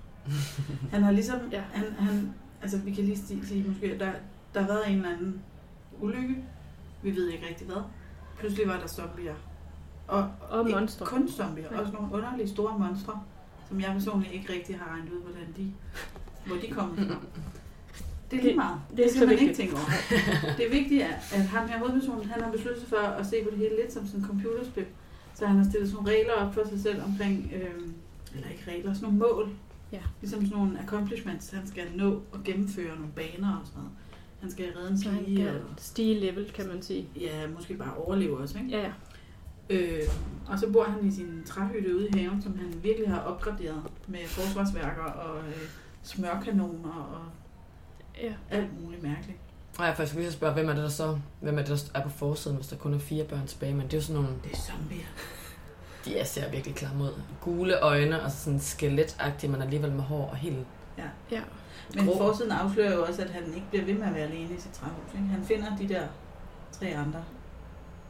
Han har ligesom, Ja. ja. han, han, altså vi kan lige sige, sige måske, at der, der har været en eller anden ulykke, vi ved ikke rigtig hvad. Pludselig var der zombier. Og, Og ikke monstre. kun zombier, Ja. ja. også nogle underlige store monstre, som jeg personligt ikke rigtig har regnet ud, hvordan de, hvor de kommer fra. Det er lige meget. det Det, er det skal ikke man så ikke tænke over. Det er vigtigt, at, at ham her hovedpersonen, han har besluttet sig for at se på det hele lidt som sådan et computerspil. Så han har stillet sådan nogle regler op for sig selv omkring, øh, eller ikke regler, sådan nogle mål. Ja. Ligesom sådan nogle accomplishments, han skal nå at gennemføre nogle baner og sådan noget. Han skal redde en Så han pige, kan og stige level, kan man sige. ja, måske bare overleve også, ikke? Ja, ja. Øh, og så bor han i sin træhytte ude i haven, som han virkelig har opgraderet med forsvarsværker og øh, smørkanoner og ja. alt muligt mærkeligt. Og jeg er faktisk lige så spørge, hvem er det, der så hvem er det, der er på forsiden, hvis der kun er fire børn tilbage? Men det er jo sådan nogle, Det er zombier. de er ser virkelig klar mod. Gule øjne og sådan skeletagtige, men alligevel med hår og helt ja. Men Grå. forsiden afslører jo også, at han ikke bliver ved med at være alene i sit træhus. Ikke? Han finder de der tre andre,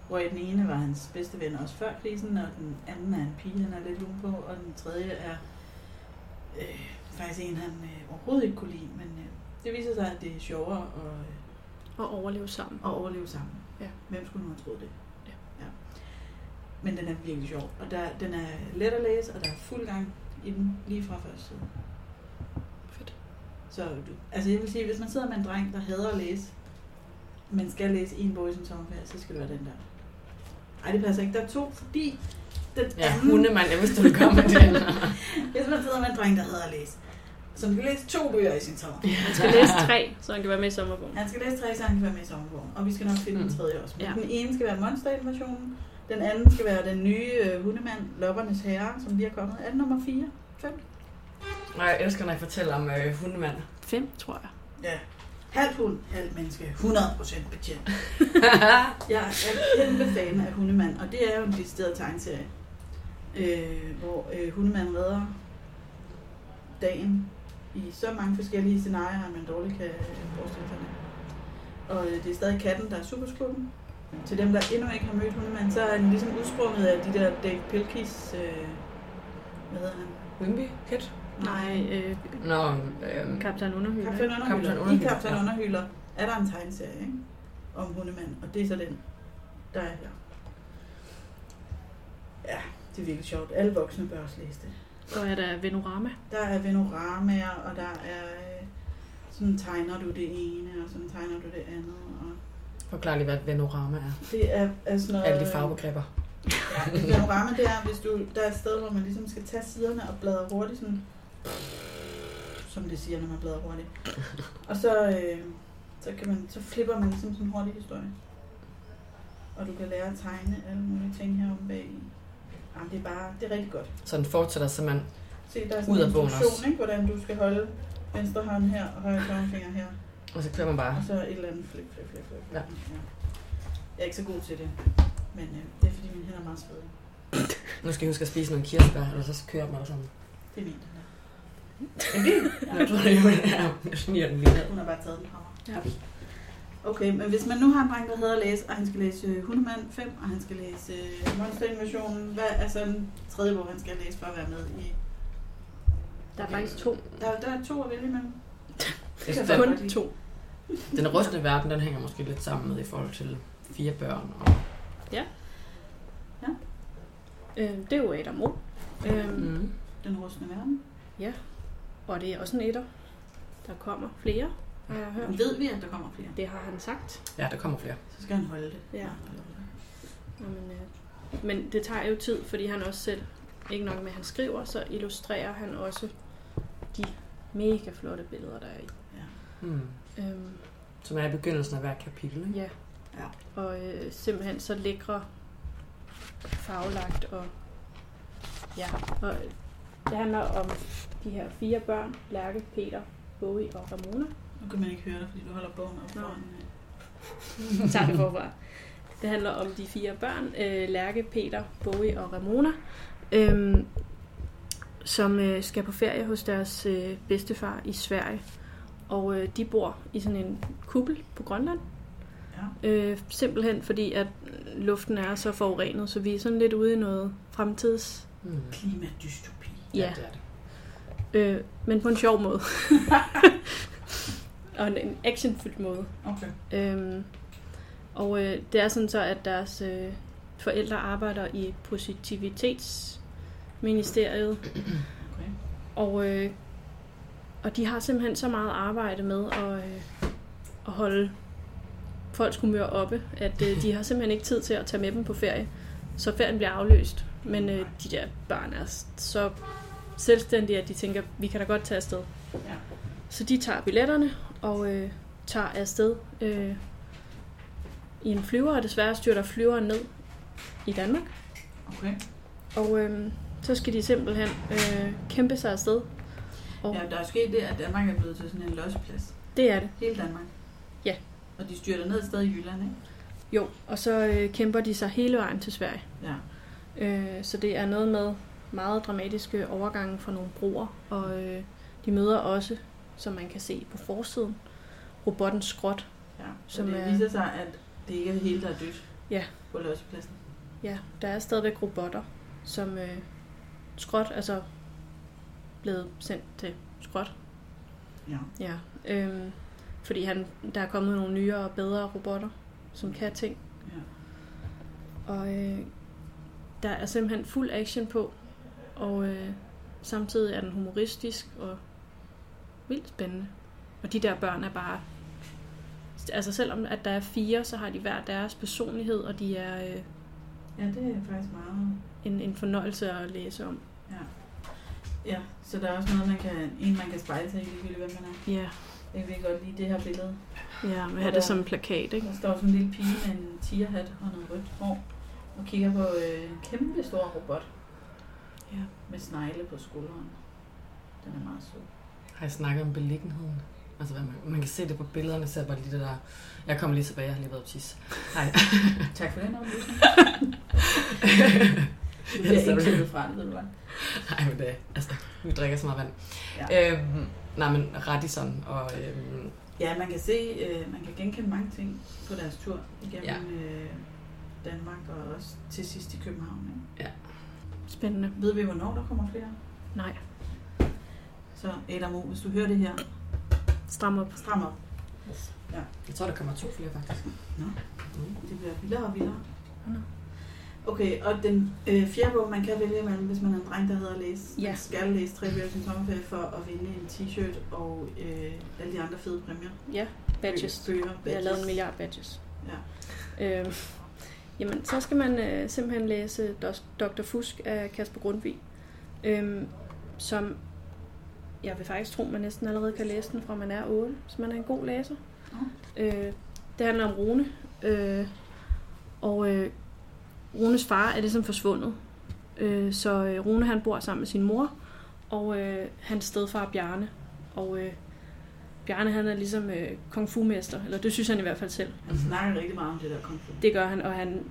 hvor den ene var hans bedste ven også før krisen, og den anden er en pige, han er lidt lun på, og den tredje er øh, faktisk en, han øh, overhovedet ikke kunne lide, men øh, det viser sig, at det er sjovere at, øh, Og overleve sammen. og overleve sammen. Ja. Hvem skulle nu have troet det? Ja. ja. Men den er virkelig sjov, og der, den er let at læse, og der er fuld gang i den lige fra første side. Fedt. Så du, altså jeg vil sige, hvis man sidder med en dreng, der hader at læse, men skal læse en bog i sin sommerferie, så skal det være den der. Ej, det passer ikke. Der er to, fordi den ja, anden, hundemand. Jeg vidste, du ville komme med den. <laughs> hvis man sidder med en dreng, der hader at læse, som skal læse to bøger i sin sommer. Han skal læse tre, så han kan være med i sommerbogen. Han skal læse tre, så han kan være med i sommervogn. Og vi skal nok finde den Mm. tredje også. Men Ja. Den ene skal være monsterinvasionen. Den anden skal være den nye øh, hundemand, Loppernes Herre, som lige er kommet. Er det nummer 4? 5? Nej, jeg elsker, når jeg fortæller om øh, hundemand. Fem, tror jeg. Ja. Halv hund, halv menneske. 100% betjent. Jeg er kæmpe fan af hundemand, og det er jo en decideret tegneserie. Øh, hvor øh, hundemanden redder dagen i så mange forskellige scenarier, at man dårligt kan øh, forestille sig det. og øh, det er stadig katten, der er superskurken. Til dem, der endnu ikke har mødt hundemanden, så er han ligesom udsprunget af de der Dave Pilkis, øh, hvad hedder han? Wimby? Kat? Nej, øh, Nå, øhm, Kaptajn Underhylde. Kaptajn ikke? Kaptajn Underhylder. I Underhylder, Kaptajn ja. Underhylder er der en tegneserie ikke? om hundemanden, og det er så den, der er her. Ja, det er virkelig sjovt. Alle voksne bør også læse det. Så er der Venorama. Der er venoramaer, og der er øh, sådan tegner du det ene, og sådan tegner du det andet. Og forklar lige, hvad et venorama er. det er, er sådan noget... Alle de farvebegreber. Ja, et venorama, det er, hvis du, der er et sted, hvor man ligesom skal tage siderne og bladre hurtigt, sådan, som det siger, når man bladrer hurtigt. Og så, øh, så, kan man, så flipper man ligesom sådan en hurtig historie. Og du kan lære at tegne alle mulige ting heromme bag. Jamen, det er bare, det er rigtig godt. Så den fortsætter simpelthen. Se, der er Ud sådan en af bogen også. instruktion, ikke, hvordan du skal holde venstre hånd her og højre tommelfinger her. Og så kører man bare. Og så et eller andet flip, flip, flip, flip. Ja. Jeg er ikke så god til det, men øh, det er fordi mine hænder er meget svedige. Nu skal jeg huske at spise nogle kirsebær, eller så kører man sådan. Det er min, den her. Jeg tror, det er jo den her. Jeg sniger den lige ned. Hun har bare taget den hammer. Ja. Okay, men hvis man nu har en dreng, der hedder at læse, og han skal læse øh, Hundemand 5, og han skal læse øh, Monsterinvasionen, hvad er så en tredje bog, han skal læse for at være med i? Der er faktisk to. Der, der er to at vælge imellem. Jeg synes, Ja. den, Kun to. den rustne verden, den hænger måske lidt sammen med i forhold til fire børn. Og, Øh, det er jo Adam O. Øh, mm. Den rustne verden. og det er også en etter. Der kommer flere, har jeg hørt. Men ved vi, at der kommer flere, Det har han sagt. Ja, der kommer flere. så skal han holde det. Ja. Jamen, øh, men det tager jo tid, fordi han også selv, ikke nok med at han skriver, så illustrerer han også de mega flotte billeder, der er i. Mm. Øhm, Som er i begyndelsen af hver kapitel. Ikke? ja. Ja. Og øh, simpelthen så lækre farvelagt og ja. Og øh, det handler om de her fire børn, Lærke, Peter, Bowie og Ramona. Nu kan man ikke høre dig, fordi du holder bogen op foran. øh. Jeg tager det forfra. Det handler om de fire børn, øh, Lærke, Peter, Bowie og Ramona, øhm, som øh, skal på ferie hos deres øh, bedstefar i Sverige. Og øh, de bor i sådan en kuppel på Grønland. Ja. Øh, simpelthen fordi, at luften er så forurenet, så vi er sådan lidt ude i noget fremtids... Mm. Klimadystopi. Ja, det er det. øh, men på en sjov måde. <laughs> og en, en actionfyldt måde. Okay. Øhm, og øh, det er sådan så, at deres øh, forældre arbejder i positivitetsministeriet, okay. og, øh, og de har simpelthen så meget arbejde med at, øh, at holde folks humør oppe, at øh, de har simpelthen ikke tid til at tage med dem på ferie, så ferien bliver afløst. Men øh, de der børn er s- så selvstændige, at de tænker, vi kan da godt tage afsted. Ja. Så de tager billetterne og øh, tager afsted øh, i en flyver, og desværre styrter flyveren ned i Danmark. Okay. Og øh, så skal de simpelthen øh, kæmpe sig afsted. Og Ja, der er sket det, at Danmark er blevet til sådan en losseplads. det er det. Hele Danmark. Ja. Og de styrter ned et sted i Jylland, ikke? Jo, og så øh, kæmper de sig hele vejen til Sverige. Ja. Øh, så det er noget med meget dramatiske overgange fra nogle broer, og øh, de møder også, som man kan se på forsiden, robotten Skrot. ja. Så Som det er- viser sig, at det ikke er det hele, der er dødt Ja. på lossepladsen. Ja, der er stadigvæk robotter, som øh, Skrot er så blevet sendt til Skrot. Ja. Ja, øhm, fordi han, der er kommet nogle nyere og bedre robotter, som kan ting. ja. Og øh, der er simpelthen fuld action på, og øh, samtidig er den humoristisk og vildt spændende. Og de der børn er bare... Altså selvom at der er fire, så har de hver deres personlighed, og de er øh, Ja, det er faktisk meget... en, en fornøjelse at læse om. Ja. Ja, så der er også noget, man kan, en man kan spejle sig i, ligegyldigt hvem man er. Ja, Jeg kan virkelig godt lide det her billede. ja man har det som en plakat, ikke? Der står sådan en lille pige med en tigerhat og noget rødt hår, og kigger på øh, en kæmpe stor robot Ja. med snegle på skulderen. Den er meget sød. <laughs> Har jeg snakket om beliggenheden? Altså, hvad man, man kan se det på billederne, så er bare lige det der... Jeg kommer lige tilbage, jeg har lige været på tis. <laughs> Hej. Tak for den oplysning. Du Ja, bliver så er ikke det. klippet fra det, ved du hvad? Nej, men det er, altså, vi drikker så meget vand. Ja. Ja. Øhm, nej, men Radisson og øhm, Ja, man kan se, øh, man kan genkende mange ting på deres tur igennem Ja. øh, Danmark og også til sidst i København. Ikke? Spændende. Ved vi, hvornår der kommer flere? Nej, Så Adam O, hvis du hører det her, stram op. stram op. Jeg tror, der kommer to flere, faktisk. Nå. Mm. Det bliver vildere og vildere. Nå. Okay, og den øh, fjerde bog, man kan vælge imellem, hvis man er en dreng, der hedder at læse. Ja. Man skal læse tre bøger i sin sommerferie for at vinde en t-shirt og øh, alle de andre fede præmier. Ja, badges. Bøger, Jeg har lavet en badges. milliard badges. Ja. Øhm, jamen, så skal man øh, simpelthen læse Dos- Dr. Fusk af Kasper Grundtvig, øhm, som jeg vil faktisk tro, man næsten allerede kan læse den fra man er 8, så man er en god læser. Nå. Øh, det handler om Rune, øh, og øh, Runes far er ligesom forsvundet, øh, så øh, Rune han bor sammen med sin mor, og øh, hans stedfar Bjarne, og øh, Bjarne han er ligesom øh, kung fu-mester, eller det synes han i hvert fald selv. Han Altså, snakker rigtig meget om det der konflikt. Det gør han, og han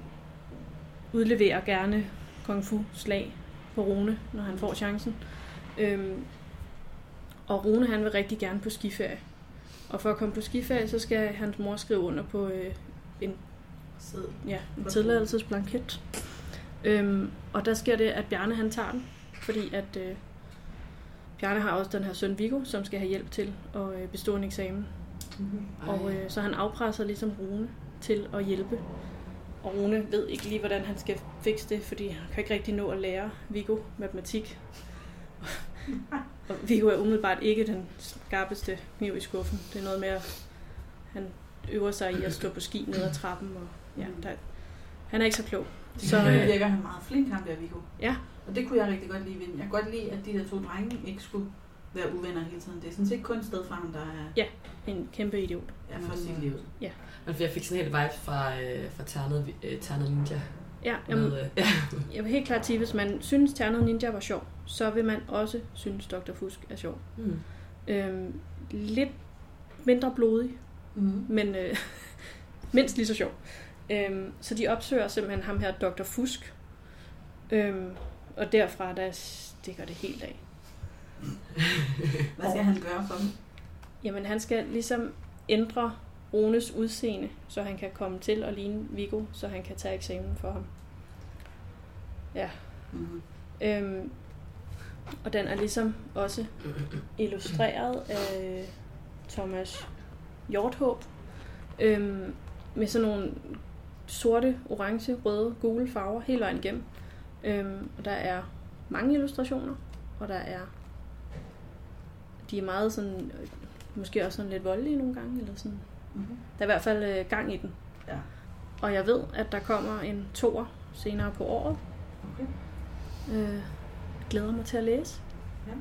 udleverer gerne kung fu slag på Rune, når han får chancen. Øhm, og Rune han vil rigtig gerne på skiferie. Og for at komme på skiferie, så skal hans mor skrive under på øh, Sid. ja, en tilladelsesblanket. Øhm, og der sker det, at Bjarne han tager den, fordi at øh, Bjarne har også den her søn Viggo, som skal have hjælp til at øh, bestå en eksamen. Mm-hmm. Og Ej. øh, så han afpresser ligesom Rune til at hjælpe. Og Rune ved ikke lige, hvordan han skal fikse det, fordi han kan ikke rigtig nå at lære Viggo matematik. og Viggo er umiddelbart ikke den skarpeste kniv i skuffen. Det er noget med, at han øver sig i at stå på ski ned ad trappen. Og, ja, Mm. der, han er ikke så klog. Så, Så Ja. øh, øh, virker han meget flink, ham der Viggo. Ja. Og det kunne jeg rigtig godt lide ved den. Jeg kunne godt lide, at de der to drenge ikke skulle være uvenner hele tiden. Det er sådan set kun stedfaren, der er, en kæmpe idiot. er for sit liv. Ja. Men jeg fik sådan helt vibe fra, øh, fra Ternet, øh, Ternet Ninja. Ja, jamen, Med, øh, ja. jeg vil helt klart sige, at hvis man synes, Ternet Ninja var sjov, så vil man også synes, Dr. Fusk er sjov. Mm. <coughs> Øhm, lidt mindre blodig, Mm. men øh, <laughs> mindst lige så sjov. Øhm, så de opsøger simpelthen ham her, Dr. Fusk. Øhm, og derfra, der stikker det helt af. Hvad skal han gøre for dem? Jamen, han skal ligesom ændre Rones udseende, så han kan komme til at ligne Viggo, så han kan tage eksamen for ham. Mm. Øhm, og den er ligesom også illustreret af Thomas Hjorthåb øhm, med sådan nogle sorte, orange, røde, gule farver hele vejen igennem. Øhm, og der er mange illustrationer, og der er de er meget sådan, øh, måske også sådan lidt voldelige nogle gange, eller sådan. Mm. Der er i hvert fald øh, gang i den. Ja. Og jeg ved, at der kommer en toer senere på året, Okay. øh, glæder mig til at læse. Det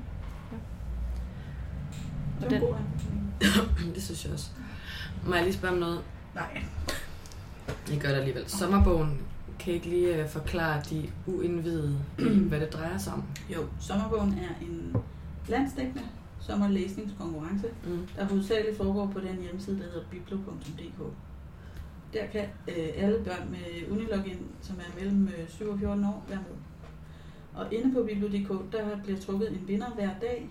Og var en den- god anbefaling. Det synes jeg også. Må jeg lige spørge om noget? Nej. Jeg gør det alligevel. Sommerbogen, kan I ikke lige øh, forklare de uindvidede, hvad det drejer sig om? Jo, sommerbogen er en landstækkende sommerlæsningskonkurrence, Mm. der hovedsageligt foregår på den hjemmeside, der hedder biblo.dk. Der kan øh, alle børn med unilogin, som er mellem øh, 7 og 14 år, være med. Og inde på biblo.dk, der bliver trukket en vinder hver dag,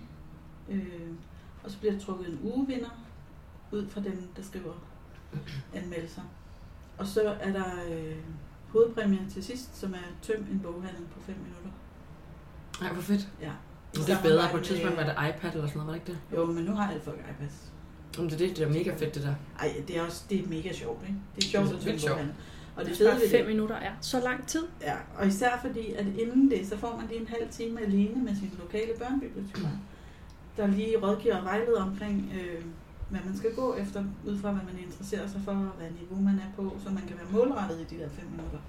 øh, og så bliver der trukket en ugevinder ud fra dem, der skriver anmeldelser. Og så er der øh, hovedpræmien til sidst, som er tøm en boghandel på 5 minutter. Ej, hvor fedt. Ja. Men det er bedre. På et øh, tidspunkt var det iPad eller sådan noget, var det ikke det? Jo, men nu har alle folk iPads. Jamen, det er det, det er mega fedt, det der. Ej, det er også det er mega sjovt, ikke? Det er sjovt Det er at tænke vildt på sjovt. han. Og det Det fede er ved fem det, minutter er så lang tid. ja, og især fordi, at inden det, så får man lige en halv time alene med sin lokale børnebibliotekar, der lige rådgiver og vejleder omkring, øh, hvad man skal gå efter, ud fra hvad man interesserer sig for, og hvad niveau man er på, så man kan være målrettet i de der fem minutter.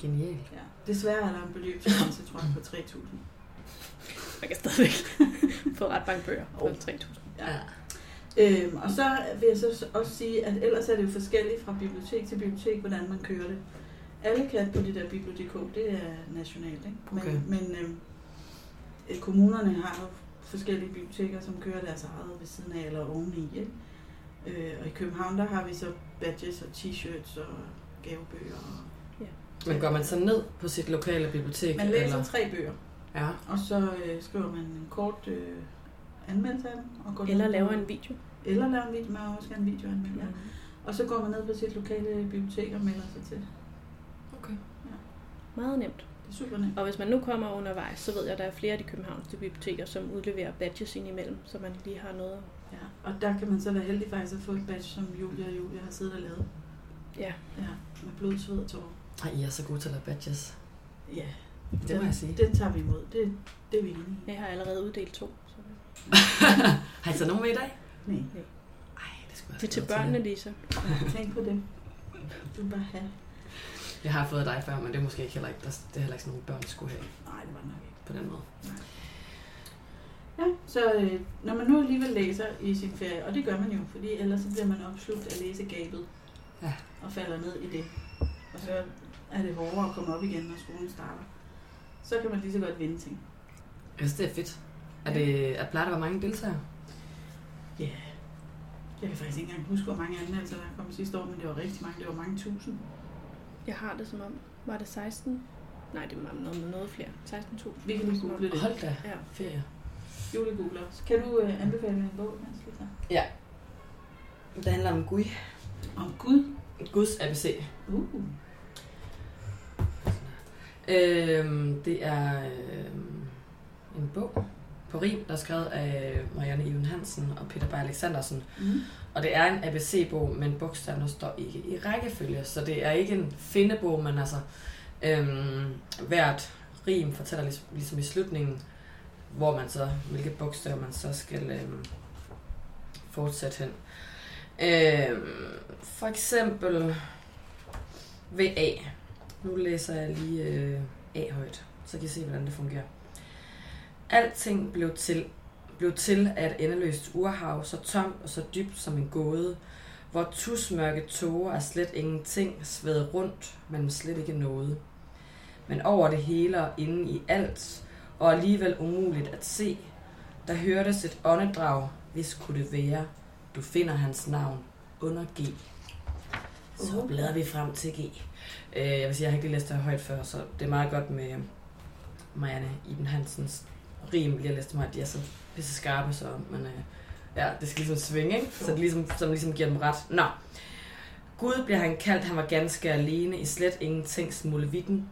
Genialt. Ja. Desværre er der en beløbsgrænse, tror jeg, på 3.000. Man kan stadigvæk <laughs> få ret mange bøger på Åh. 3.000. Ja. Øhm, og så vil jeg så også sige, at ellers er det jo forskelligt fra bibliotek til bibliotek, hvordan man kører det. Alle kan på det der bibliotek, det er nationalt, ikke? Men, Okay. men øhm, øh, kommunerne har jo forskellige biblioteker, som kører deres eget ved siden af eller oveni, ikke? Øh, og i København, der har vi så badges og t-shirts og gavebøger. Og Men går man så ned på sit lokale bibliotek? man læser Eller? tre bøger, Ja. og så øh, skriver man en kort øh, anmeldelse af dem. Og går ned Eller på- laver en video. Eller lave en video, man også gerne videoanmelde. Ja. Og så går man ned på sit lokale bibliotek og melder sig til. Okay. Meget nemt. Det er super nemt. Og hvis man nu kommer undervejs, så ved jeg, at der er flere af de københavnske biblioteker, som udleverer badges indimellem, så man lige har noget. at- Ja. Og der kan man så være heldig faktisk at få et badge, som Julia og Julia har siddet og lavet. Ja. Ja, med blod, sved og tårer. Ej, I er så gode til at lave badges. Ja, Det må jeg sige. den tager vi imod. Det, det er vi enige i. Jeg har allerede uddelt to. Så. <laughs> Har I taget nogen med i dag? Nej, Ej, det altså skulle jeg Det er til børnene, Lisa. tænk på det. Du vil bare have. Jeg har fået dig før, men det er måske ikke heller ikke, der- det er heller ikke sådan nogle børn skulle have Nej, det var det nok ikke. på den måde. Ja, så øh, når man nu alligevel læser i sin ferie, og det gør man jo, fordi ellers så bliver man opslugt af læsegabet Ja. og falder ned i det. Og så er det hårdere at komme op igen, når skolen starter. Så kan man lige så godt vinde ting. Jeg synes, det er fedt. Er det, at plejer der at være mange deltagere? Jeg kan faktisk ikke engang huske, hvor mange anmeldelser der kom sidste år, men det var rigtig mange. Det var mange tusind. Jeg har det som om, var det 16? Nej, det var noget, noget flere. 16.000. Vi kan lige google det. Hold da Ja. ferie. Julie googler også. Kan du øh, anbefale mig en bog, Mads? Lisa? Det handler om Gud. Om Gud. Guds ABC. Uh. Øhm, det er øhm, en bog på rim, der er skrevet af Marianne Even Hansen og Peter Bay Alexandersen. Mm. Og det er en ABC-bog, men bogstaverne står ikke i rækkefølge, så det er ikke en findebog, men altså øhm, hvert rim fortæller ligesom, ligesom i slutningen, hvor man så, hvilke bogstaver man så skal øhm, fortsætte hen. Øhm, for eksempel ved A. Nu læser jeg lige øh, A højt, så kan I se, hvordan det fungerer. Alting blev til blev til af et endeløst urhav, så tomt og så dybt som en gåde, hvor tusmørke tåger er slet ingenting, svedet rundt, men slet ikke noget. Men over det hele og inden i alt, og alligevel umuligt at se, der hørtes et åndedrag, hvis kunne det være, du finder hans navn under G. Så Uh. bladrer vi frem til G. Øh, jeg vil sige, jeg har ikke lige læst det her højt før, så det er meget godt med Marianne Iben Hansens rim, lige at læse dem her. De er så pisse skarpe, så man, øh, ja, det skal ligesom svinge, ikke? Så det ligesom, som ligesom giver dem ret. Nå. Gud bliver han kaldt, han var ganske alene i slet ingenting smulvitten.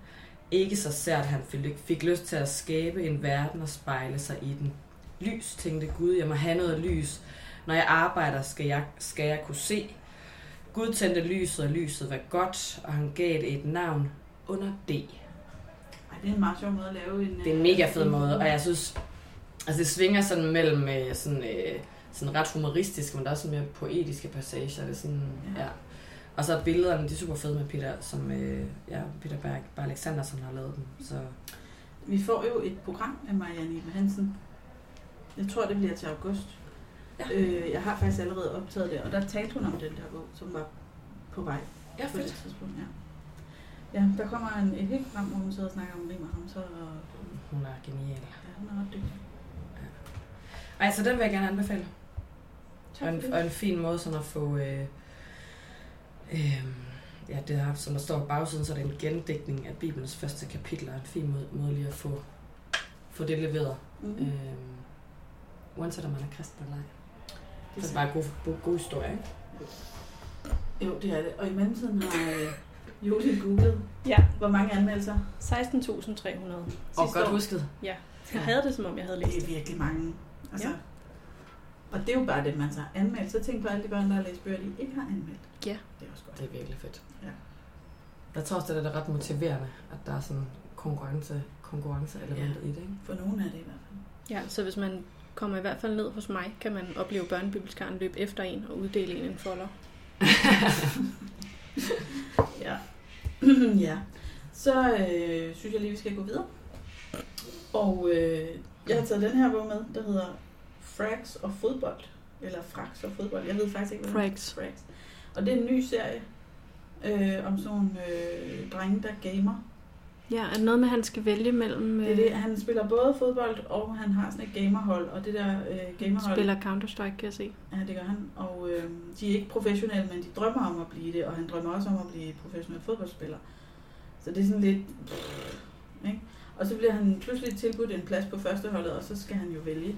Ikke så sært, han fik- fik lyst til at skabe en verden og spejle sig i den. Lys, tænkte Gud, jeg må have noget lys. Når jeg arbejder, skal jeg, skal jeg kunne se. Gud tændte lyset, og lyset var godt, og han gav det et navn under D. Ej, det er en meget sjov måde at lave en... Det er en mega fed måde, og jeg synes, altså det svinger sådan mellem øh, sådan, øh, sådan ret humoristisk, men der er også sådan mere poetiske passager. Det er sådan, Ja. ja. ja. Og så er billederne, de er super fede med Peter, som øh, ja, Peter Berg, Berg Alexander, som har lavet dem. Så Vi får jo et program af Marianne Iben Hansen. Jeg tror, det bliver til august. Ja. Øh, jeg har faktisk allerede optaget det, og der talte hun om den der bog, som var på vej ja, på det fedt. tidspunkt. Ja. ja, der kommer en, et helt program, hvor hun sidder og snakker om rim og hamser, og Hun er genial. ja, hun er ret dygtig. Ej, så den vil jeg gerne anbefale. Og Tak for en, det. og en fin måde sådan at få... Øh, øh, ja, det har, som der står på bagsiden, så er det en gendigtning af Bibelens første kapitler. En fin måde, måde lige at få, få det leveret. Mm. Øh, uanset om man er kristen eller ej. Det Det er er bare en god, god, god historie, ikke? Jo, det er det. Og i mellemtiden har øh, Julie googlet, Ja. hvor mange anmeldelser 16.300. sidste år. husket. Jeg havde det, som om jeg havde læst Det er det. virkelig mange. Altså, ja. Og det er jo bare det, man så har anmeldt. Så tænk på alle de børn, der har læst bøger, de ikke har anmeldt. Ja. Det er også godt. Det er virkelig fedt. Ja. Jeg tror også, det er det ret motiverende, at der er sådan konkurrence, konkurrenceelementet ja. i det, ikke? For nogen er det i hvert fald. Ja, så hvis man kommer i hvert fald ned hos mig, kan man opleve børnebibliotekaren løbe efter en og uddele en en folder. <clears throat> Ja. ja. Så øh, synes jeg lige, vi skal gå videre. Og øh, jeg har taget den her bog med, der hedder Frags og fodbold. Eller Frags og fodbold. Jeg ved faktisk ikke, hvad Frags. Frags. Og det er en ny serie øh, om sådan nogle øh, drenge, der gamer. Ja, er det noget med, at han skal vælge mellem øh, Det er det. Han spiller både fodbold, og han har sådan et gamerhold. Og det der øh, gamerhold, spiller Counter-Strike, kan jeg se. Ja, det gør han. Og øh, de er ikke professionelle, men de drømmer om at blive det, og han drømmer også om at blive professionel fodboldspiller. Så det er sådan lidt... Pff, ikke? Og så bliver han pludselig tilbudt en plads på førsteholdet, og så skal han jo vælge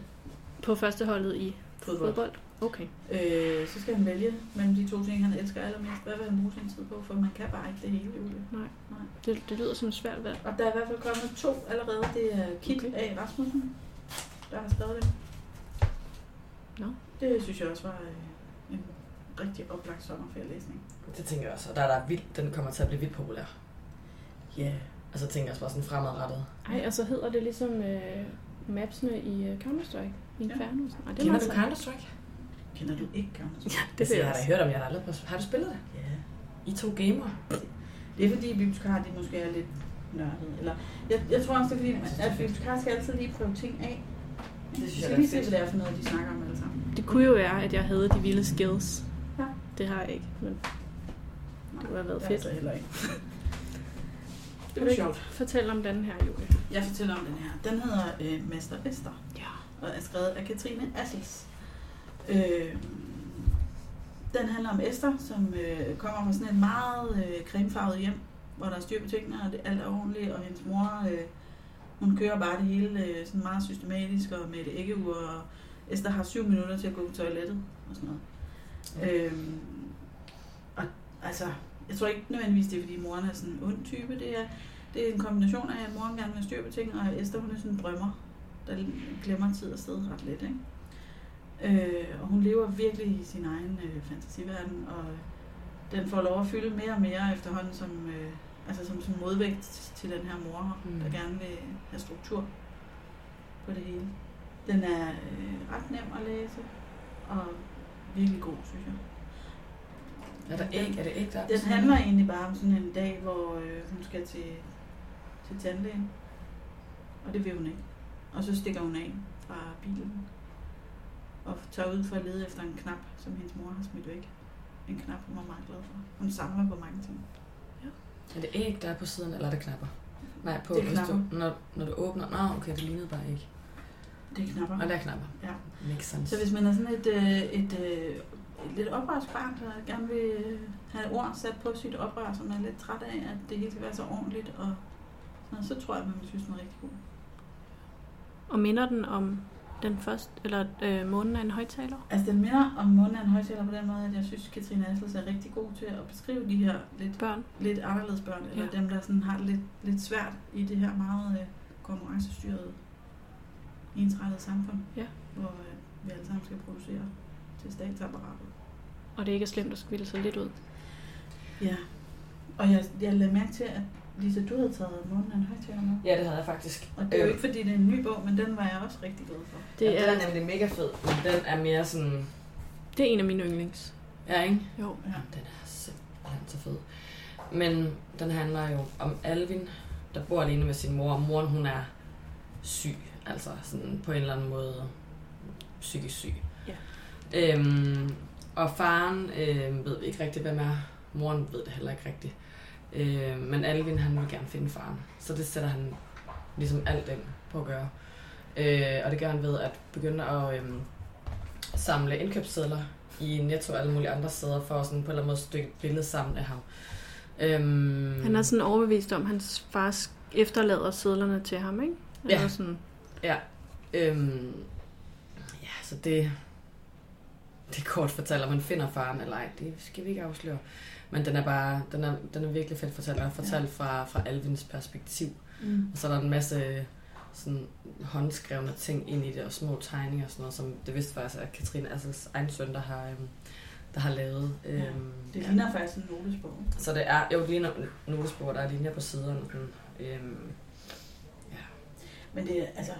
På førsteholdet i fodbold. fodbold. Okay. Øh, så skal han vælge mellem de to ting, han elsker allermest. Hvad vil han bruge sin tid på? For man kan bare ikke det hele, Julie. Det, det lyder som et svært valg. Og der er i hvert fald kommet to allerede. Det er Kit Okay. okay. A. Rasmussen, der har skrevet det. Nå. Det synes jeg også var øh, en rigtig oplagt sommerferielæsning. <laughs> Det tænker jeg også. Og der er der vildt, den kommer til at blive vildt populær. Ja. Yeah. Altså jeg tænker jeg også bare sådan fremadrettet. Ej, og så hedder det ligesom øh, mapsene i øh, Counter-Strike. Inferno. Ja. Ej, det er Kender meget du sejt. Counter-Strike? Kender du ikke Counter Strike? Det vil jeg jeg har da også. hørt om, jeg har aldrig prøvet. Har du spillet det? Ja. I to gamer. Det er fordi bibliotekarer, de måske er lidt nørdede. Eller, jeg, jeg tror også, det er fordi, synes, det er at fedt. bibliotekarer skal altid lige prøve ting af. synes Vi jeg er skal lige se, fedt. hvad det er for noget, de snakker om alle sammen. Det kunne jo være, at jeg havde de vilde skills. Ja. Det har jeg ikke, men Nej, det kunne have været det er fedt. altså heller ikke. Kan Det du var ikke sjovt. fortælle om den her, Julie? Jeg fortæller om den her. Den hedder øh, Mester Vester Ja. og er skrevet af Katrine Assels. Øh, den handler om Esther, som øh, kommer fra sådan et meget øh, cremefarvet hjem, hvor der er styr på tingene, og det, alt er ordentligt, og hendes mor, øh, hun kører bare det hele øh, sådan meget systematisk og med et æggeur, og Esther har syv minutter til at gå på toilettet og sådan noget. Øh, og altså, jeg tror ikke nødvendigvis, det er fordi moren er sådan en ond type, det er, det er en kombination af, at moren gerne vil have styr på ting, og Esther hun er sådan en drømmer der glemmer tid og sted ret let. Ikke? Øh, og hun lever virkelig i sin egen øh, fantasiverden, og den får lov at fylde mere og mere efterhænden som, øh, altså som, som modvægt til den her mor, Mm. mm. der gerne vil have struktur på det hele. Den er øh, ret nem at læse, og virkelig god, synes jeg. Er der æg? Er det æg, der er på Den sådan handler egentlig bare om sådan en dag, hvor øh, hun skal til, til tandlægen. Og det vil hun ikke. Og så stikker hun af fra bilen. Og tager ud for at lede efter en knap, som hendes mor har smidt væk. En knap, hun var meget glad for. Hun samler på mange ting. Er det æg, der er på siden, eller er det knapper? Nej, på, Det er hvis knapper. Du, når, når du åbner... Nå, okay, det lignede bare æg. Det er knapper. Og der er knapper. Ja. Makes sense. Så hvis man er sådan et, øh, et, øh, et lidt oprørsk barn, der gerne vil øh, have ord sat på sit oprør, som er lidt træt af, at det hele skal være så ordentligt, og sådan noget, så tror jeg, at man vil synes, den er rigtig god. Og minder den om den første, eller øh, månen af en højtaler? Altså den minder om månen af en højtaler på den måde, at jeg synes, Katrine Assels er rigtig god til at beskrive de her lidt, Børn? lidt anderledes børn, eller Ja. dem, der sådan har det lidt, lidt svært i det her meget øh, konkurrencestyrede, ensrettede samfund, Ja. hvor øh, vi alle sammen skal producere til statsapparatet. Og det ikke er slemt at skville sig lidt ud. Ja, og jeg, jeg lagde mærke til, at Lisa, du havde taget månen af en højtaler med. Ja, det havde jeg faktisk. Og det er jo Øh. ikke, fordi det er en ny bog, men den var jeg også rigtig glad for. Det, ja, ja, den er, er nemlig mega fed, men den er mere sådan... det er en af mine yndlings. Ja, ikke? Jo. Ja. Den er simpelthen så fed. Men den handler jo om Alvin, der bor alene med sin mor. Og moren, hun er syg. Altså sådan på en eller anden måde psykisk syg. Ja. Øhm, og faren øh, ved vi ikke rigtig, hvem er. Moren ved det heller ikke rigtigt. Øh, men Alvin, han vil gerne finde faren. Så det sætter han ligesom alt ind på at gøre. Øh, og det gør han ved at begynde at øh, samle indkøbssedler i Netto og alle mulige andre steder, for at sådan på en eller anden måde stykke et billede sammen af ham. Øhm, Han er sådan overbevist om, at hans far sk- efterlader sædlerne til ham, ikke? Eller Ja. Sådan, Øhm, ja, så det... Det er kort fortalt, om man finder faren eller ej. Det skal vi ikke afsløre. Men den er bare... Den er, den er virkelig fedt fortalt, og fortalt fra, fra Alvins perspektiv. Mm. Og så er der en masse øh, sådan håndskrevne ting ind i det, og små tegninger og sådan noget, som det vidste faktisk, at Katrine Assels egen søn, der har, øhm, der har lavet. Øhm, Det ligner faktisk en notesbog. Så det er, jo, det ligner notesbord, der er linjer på siderne. Sådan, øhm, Men det er, altså,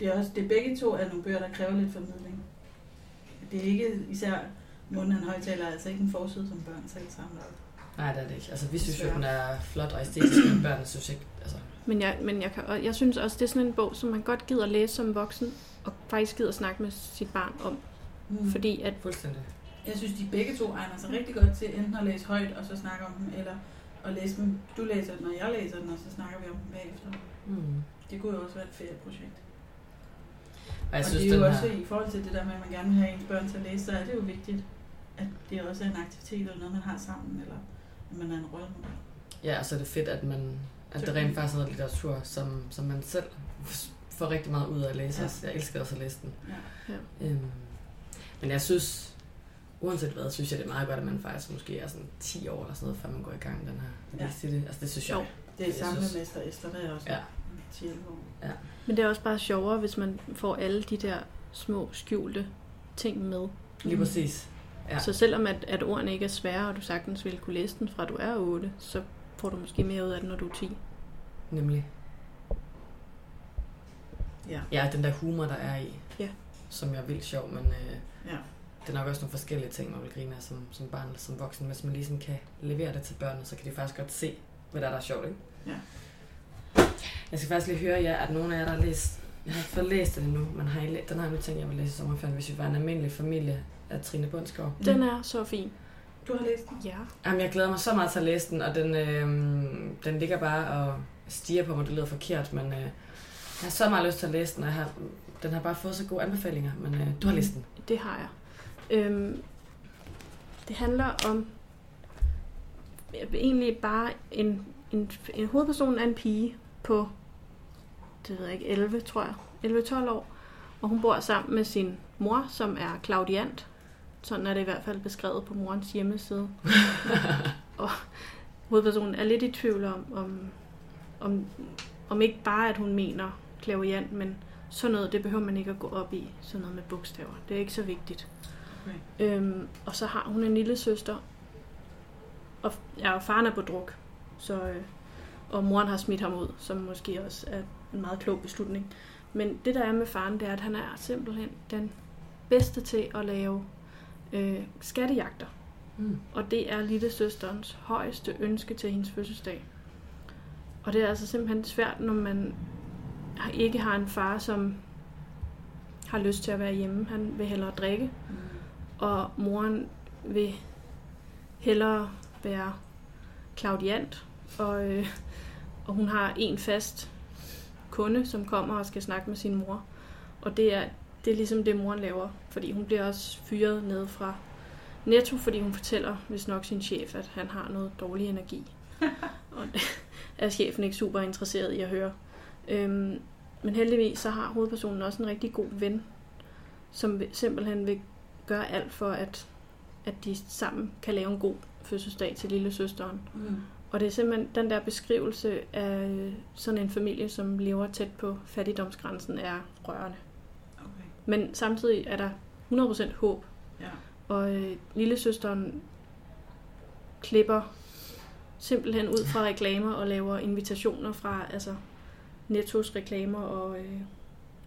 det er også, det er begge to er nogle bøger, der kræver lidt formidling. Det er ikke især munden af en højtaler, er altså ikke en forside, som børn selv samler. nej, det er det ikke. Altså, vi synes jo, Desværre. den er flot og æstetisk, men børnene synes ikke, altså, men jeg, men jeg, kan, og jeg synes også, det er sådan en bog, som man godt gider læse som voksen, og faktisk gider snakke med sit barn om. Mm. Fordi Fordi at, fuldstændig. jeg synes, de begge to egner sig rigtig godt til enten at læse højt og så snakke om dem, eller at læse dem. Du læser den, og jeg læser den, og så snakker vi om dem bagefter. Mm. Det kunne jo også være et ferieprojekt. Og og jeg synes, det er den jo her, også i forhold til det der med, at man gerne vil have ens børn til at læse, så er det jo vigtigt, at det også er en aktivitet eller noget, man har sammen, eller at man er en rollemodel. ja, og så er det fedt, at, man, at det rent faktisk er noget litteratur, som, som man selv får rigtig meget ud af at læse. Ja. Ja. Jeg elsker også at læse den. Ja. Ja. Øhm, men Men jeg synes, uanset hvad, synes jeg, det er meget godt, at man faktisk måske er sådan 10 år eller sådan noget, før man går i gang med den Ja. her ja. det. Altså det synes jeg. Jo. Det er Jeg samme synes- med Mester Esther, der er også Ja. 10 år. Men det er også bare sjovere, hvis man får alle de der små skjulte ting med. Lige Mm. præcis. Ja. Ja. Så selvom at, at ordene ikke er svære, og du sagtens ville kunne læse den fra du er 8, så får du måske mere ud af den, når du er 10. Nemlig. Ja. Ja, den der humor, der er i. Ja. Som jeg er vildt sjov, men øh, Ja. det er nok også nogle forskellige ting, man vil grine af som, som barn eller som voksen. Hvis man lige sådan kan levere det til børnene, så kan de faktisk godt se, hvad der er, der er sjovt, ikke? Ja. Jeg skal faktisk lige høre jer, at nogle af jer, der har læst... Jeg har ikke fået læst den endnu, men har I læ- den har jeg nu tænkt, jeg vil læse i sommerferien, hvis vi var en almindelig familie af Trine Bundsgaard. Den er så fin. Mm. Du har læst den? Ja. Jamen, jeg glæder mig så meget til at læse den, og den, øh, den ligger bare og stiger på mig. Det lyder forkert, men øh, jeg har så meget lyst til at læse den, og jeg har, den har bare fået så gode anbefalinger. Men øh, du har læst den. Det har jeg. Øhm, det handler om egentlig bare en, en, en hovedperson er en pige på det ved jeg ikke, 11, tror jeg. 11-12 år. Og hun bor sammen med sin mor, som er Claudiant. Sådan er det i hvert fald beskrevet på morens hjemmeside. og hovedpersonen er lidt i tvivl om, om, om, om ikke bare, at hun mener Claudiant, men sådan noget, det behøver man ikke at gå op i. Sådan noget med bogstaver. Det er ikke så vigtigt. Okay. Øhm, og så har hun en lille søster. Og, f- ja, og faren er på druk. Så, øh, og moren har smidt ham ud, som måske også er en meget klog beslutning. Men det der er med faren, det er, at han er simpelthen den bedste til at lave øh, skattejagter. Mm. Og det er lille søsterens højeste ønske til hendes fødselsdag. Og det er altså simpelthen svært, når man har- ikke har en far, som har lyst til at være hjemme. Han vil hellere drikke, Mm. og moren vil hellere være klaudiant. Og, øh, og hun har en fast kunde, som kommer og skal snakke med sin mor. Og det er, det er ligesom det, moren laver, fordi hun bliver også fyret ned fra Netto, fordi hun fortæller, hvis nok sin chef, at han har noget dårlig energi. og det er chefen ikke super interesseret i at høre. Øhm, men heldigvis så har hovedpersonen også en rigtig god ven, som vil- simpelthen vil gøre alt for, at, at de sammen kan lave en god fødselsdag til lille søsteren. Mm. Og det er simpelthen den der beskrivelse af sådan en familie, som lever tæt på fattigdomsgrænsen, er rørende. Okay. Men samtidig er der 100% håb. Ja. Og øh, lillesøsteren klipper simpelthen ud fra reklamer og laver invitationer fra altså Nettos reklamer og øh,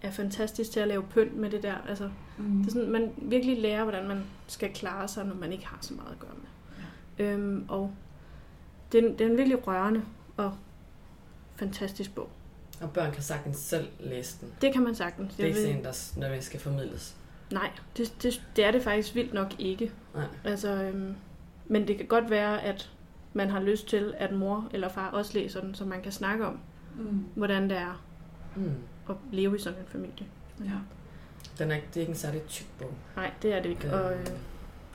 er fantastisk til at lave pynt med det der. Altså, Mm. det er sådan, man virkelig lærer, hvordan man skal klare sig, når man ikke har så meget at gøre med. Ja. Øhm, og det er, en, det er en virkelig rørende og fantastisk bog. Og børn kan sagtens selv læse den. Det kan man sagtens. Det er ikke sådan, en, der s- nødvendigvis skal formidles. Nej, det, det, det er det faktisk vildt nok ikke. Nej. Altså, øhm, men det kan godt være, at man har lyst til, at mor eller far også læser den, så man kan snakke om, Mm. hvordan det er Mm. at leve i sådan en familie. Ja. Den er, ikke- det er ikke en særlig tyk bog, Nej, det er det ikke. Og øh,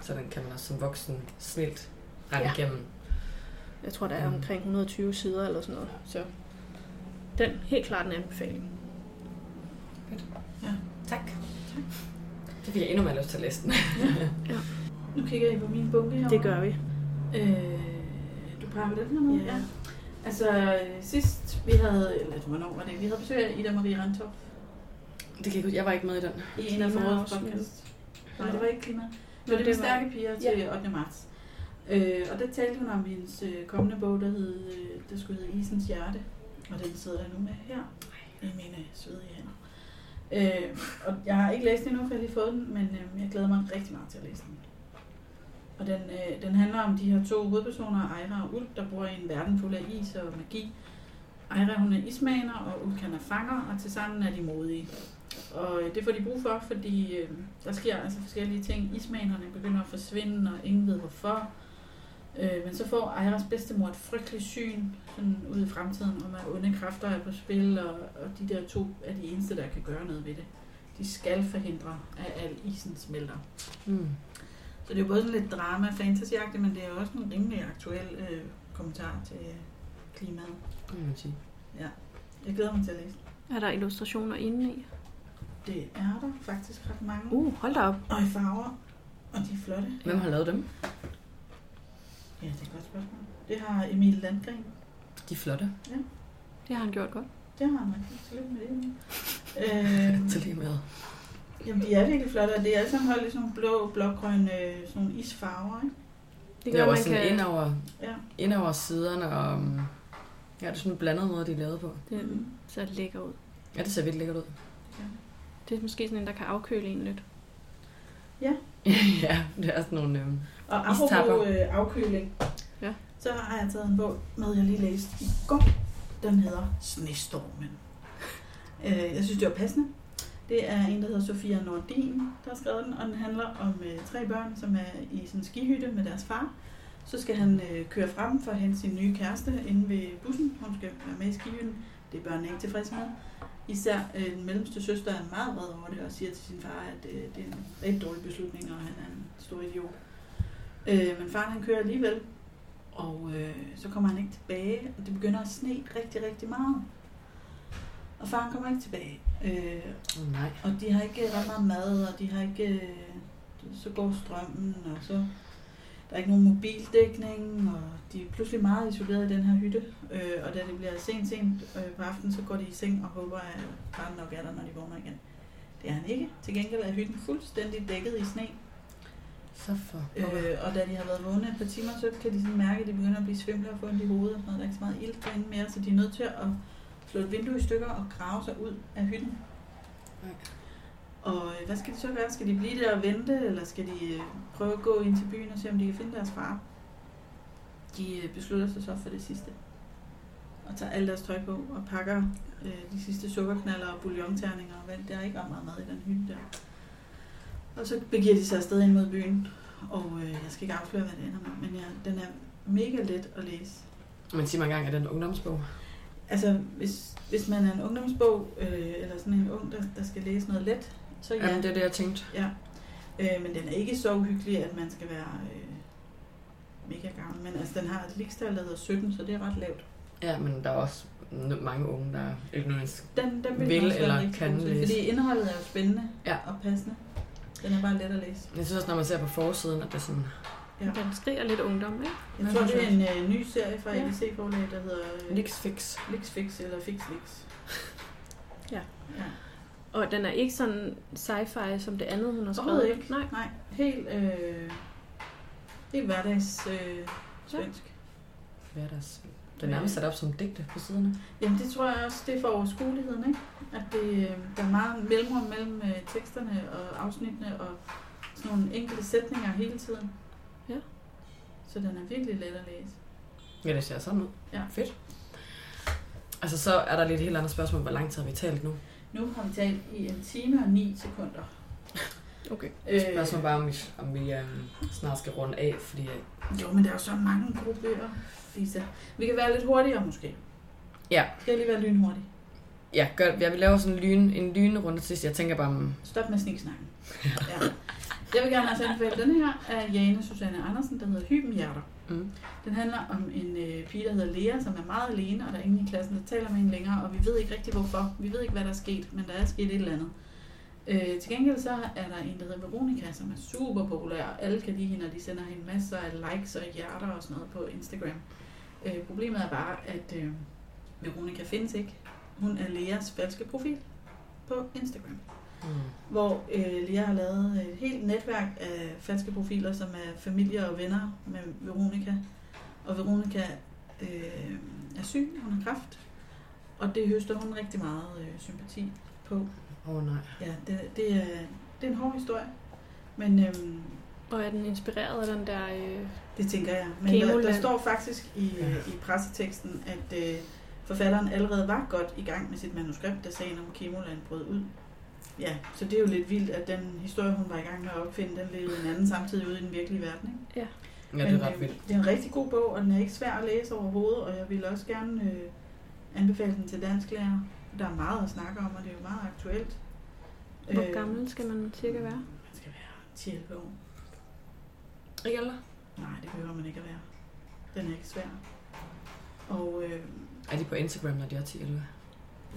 så den kan man også som voksen snilt rette Ja. ja. igennem. jeg tror, der er omkring 120 sider eller sådan noget. Så den helt klart en anbefaling. Tak. Så fik jeg endnu mere lyst til at læse den. Nu kigger jeg på min bunke her. Det gør vi. Øh, du peger med den her måde? Ja. Altså øh, sidst vi havde, eller hvornår var det, vi havde besøg af Ida Marie Rantorp <laughs> Det kan jeg, ikke huske. jeg var ikke med i den. i en af Klima- forårets afsnit. podcast. Nej, Nej. det var ikke klima. Det Nå, var det det med var- stærke piger til 8. marts. Øh, og der talte hun om hendes øh, kommende bog, der, hed, øh, der skulle hedde Isens Hjerte. Og den sidder jeg nu med her i mine svedige hænder. Øh, og jeg har ikke læst den endnu, for jeg har lige fået den, men øh, jeg glæder mig rigtig meget til at læse den. Og den, øh, den handler om de her to hovedpersoner, Ejra og Ulf, der bor i en verden fuld af is og magi. Ejra hun er ismaner, og Ulf han er fanger, og tilsammen er de modige. Og øh, det får de brug for, fordi øh, der sker altså forskellige ting. Ismanerne begynder at forsvinde, og ingen ved hvorfor. Øh, men så får Ejras bedstemor et frygteligt syn sådan ude i fremtiden, om at onde kræfter er på spil, og, og de der to er de eneste, der kan gøre noget ved det. De skal forhindre, at al isen smelter. Mm. Så det er jo både sådan lidt drama fantasy men det er jo også en rimelig aktuel øh, kommentar til øh, klimaet. Det må man sige. Jeg glæder mig til at læse. Er der illustrationer inde i? Det er der faktisk ret mange. Uh, hold da op. Og i farver. Og de er flotte. Hvem har lavet dem? Ja, det er et godt spørgsmål. Det har Emil Landgren. De er flotte. Det har han gjort godt. Det har han rigtig. Tillykke med det, Emil. <laughs> Øhm, Tillykke med. jamen, de er virkelig flotte, og det er alle sammen holdt i sådan nogle blå, blågrønne øh, sådan nogle isfarver. Ikke? Det er også sådan ind over, Ja. ind over siderne, og mm, ja, det er sådan en blandet måde, de er lavet på. Mm. Det ser lækker ud. Ja, det ser virkelig lækkert ud. <laughs> Det er måske sådan en, der kan afkøle en lidt. ja, det er sådan nogle... Øhm, Og Istapper. apropos øh, afkøling, Ja. så har jeg taget en bog med, jeg lige læste i går. Den hedder Snestormen. øh, jeg synes, det var passende. Det er en, der hedder Sofia Nordin, der har skrevet den, og den handler om øh, tre børn, som er i sådan en skihytte med deres far. Så skal han øh, køre frem for at hente sin nye kæreste inde ved bussen. Hun skal være med i skihytten. Det er børnene ikke tilfredse med. Især øh, den mellemste søster er meget vred over det og siger til sin far, at øh, det er en rigtig dårlig beslutning, og han er en stor idiot. Øh, men faren han kører alligevel, og øh, så kommer han ikke tilbage, og det begynder at sne rigtig, rigtig meget. Og faren kommer ikke tilbage, øh, oh, nej. og de har ikke ret meget mad, og de har ikke... øh, Så går strømmen, og så der er ikke nogen mobildækning, og de er pludselig meget isoleret i den her hytte. Øh, og da det bliver sent, sent øh, på aftenen, så går de i seng og håber, at faren nok er der, når de vågner igen. Det er han ikke. Til gengæld er hytten fuldstændig dækket i sne, Så for... Øh, og da de har været vågne et par timer, så kan de sådan mærke, at de begynder at blive svimle og få ondt i hovedet og sådan noget. Der er ikke så meget ilt derinde mere, så de er nødt til at slå et vindue i stykker og grave sig ud af hytten. Nej. Og øh, hvad skal de så gøre? Skal de blive der og vente, eller skal de øh, prøve at gå ind til byen og se, om de kan finde deres far? De øh, beslutter sig så for det sidste. Og tager alt deres tøj på og pakker øh, de sidste sukkerknaller og bouillonterninger og hvad der er ikke er meget mad i den hytte der. Og så begiver de sig afsted ind mod byen. Og øh, jeg skal ikke afsløre, hvad det ender med, men jeg, den er mega let at læse. Men sig mig engang, er det en ungdomsbog? Altså, hvis, hvis man er en ungdomsbog, øh, eller sådan en ung, der, der skal læse noget let, så ja. Jamen, det er det, jeg tænkte. Ja, øh, men den er ikke så uhyggelig, at man skal være øh, mega gammel. Men altså, den har et ligestal, der hedder 17, så det er ret lavt. Ja, men der er også n- mange unge, der ikke nødvendigvis... Den, den Vil den også være eller rigtig kan god til, læse. Fordi indholdet er jo spændende Ja. og passende. Den er bare let at læse. Jeg synes også, når man ser på forsiden, at det er sådan... Ja. Den skriger lidt ungdom, ikke? Jeg Hvad tror, er det det er en øh, ny serie fra Ja. ABC-forlag, der hedder øh, Lix fix. Lixfix eller Fixlix. Ja. ja. Og den er ikke sådan sci-fi som det andet, hun har skrevet. Overhovedet ikke. Nej. Nej, helt, øh, helt hverdags øh, svensk. Hverdags. Det er nærmest sat op som digte på siderne. Jamen det tror jeg også, det er for overskueligheden, ikke? At det, øh, der er meget mellemrum mellem øh, teksterne og afsnittene og sådan nogle enkelte sætninger hele tiden. Ja. Så den er virkelig let at læse. Ja, det ser sådan ud. Ja. Fedt. Altså, så er der lidt et helt andet spørgsmål. Hvor lang tid har vi talt nu? Nu har vi talt i en time og 9 sekunder. Okay. Øh. Spørgsmålet bare, om vi, om vi øhm, snart skal runde af, fordi... øh, Jo, men der er jo så mange gode bøger, Lisa. Vi kan være lidt hurtigere måske. Ja. Skal jeg lige være lynhurtig? Ja, gør, jeg vil lave sådan en, lyn, en lynrunde til sidst. Jeg tænker bare, om- Stop med sniksnakken. Ja. Jeg vil gerne altså anbefale den her af Jane Susanne Andersen, der hedder Hyben Hjerter. Mm. Den handler om en øh, pige, der hedder Lea, som er meget alene, og der er ingen i klassen, der taler med hende længere, og vi ved ikke rigtig hvorfor. Vi ved ikke, hvad der er sket, men der er sket et eller andet. Øh, til gengæld så er der en, der hedder Veronica, som er super populær, og alle kan lide hende, og de sender hende masser af likes og hjerter og sådan noget på Instagram. Øh, problemet er bare, at øh, Veronica findes ikke. Hun er Leas falske profil på Instagram Mm. hvor øh, Lea har lavet et helt netværk af falske profiler, som er familier og venner med Veronica. Og Veronica øh, er syg, hun har kræft, og det høster hun rigtig meget øh, sympati på. Åh oh, nej. Ja, det, det, er, det er en hård historie, men øh, Og er den inspireret af den der... Øh... det tænker jeg. Men der, der Kemoland. står faktisk i, øh, i presseteksten, at øh, forfatteren allerede var godt i gang med sit manuskript, da sagen om Kemoland brød ud. Ja, så det er jo lidt vildt, at den historie, hun var i gang med at opfinde, den levede en anden samtidig ude i den virkelige verden. Ikke? Ja, det Men, er ret øh, vildt. Det er en rigtig god bog, og den er ikke svær at læse overhovedet, og jeg vil også gerne øh, anbefale den til dansklærer. Der er meget at snakke om, og det er jo meget aktuelt. Øh, Hvor gammel skal man cirka være? Man skal være 10 år. Ikke eller? Nej, det behøver man ikke at være. Den er ikke svær. Og øh, Er de på Instagram, når de er 10 eller hvad?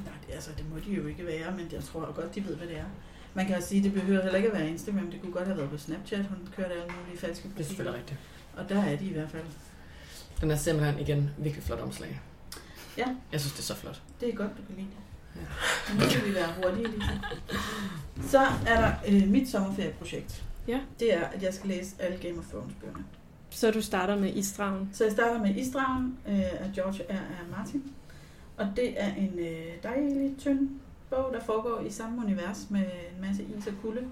Nej, det, altså det må de jo ikke være, men jeg tror godt, de ved, hvad det er. Man kan også sige, at det behøver heller ikke at være Instagram. Det kunne godt have været på Snapchat, hun kørte alle mulige falske Det er selvfølgelig profiler. rigtigt. Og der er de i hvert fald. Den er simpelthen igen virkelig flot omslag. Ja. Jeg synes, det er så flot. Det er godt, du kan lide det. Ja. Nu skal vi være hurtige lige. Så er der øh, mit sommerferieprojekt. Ja. Det er, at jeg skal læse alle Game of Thrones bøgerne. Så du starter med isdragen. Så jeg starter med Isdragen øh, af George R. R. Martin. Og det er en øh, dejlig, tynd bog, der foregår i samme univers med en masse is og kulde.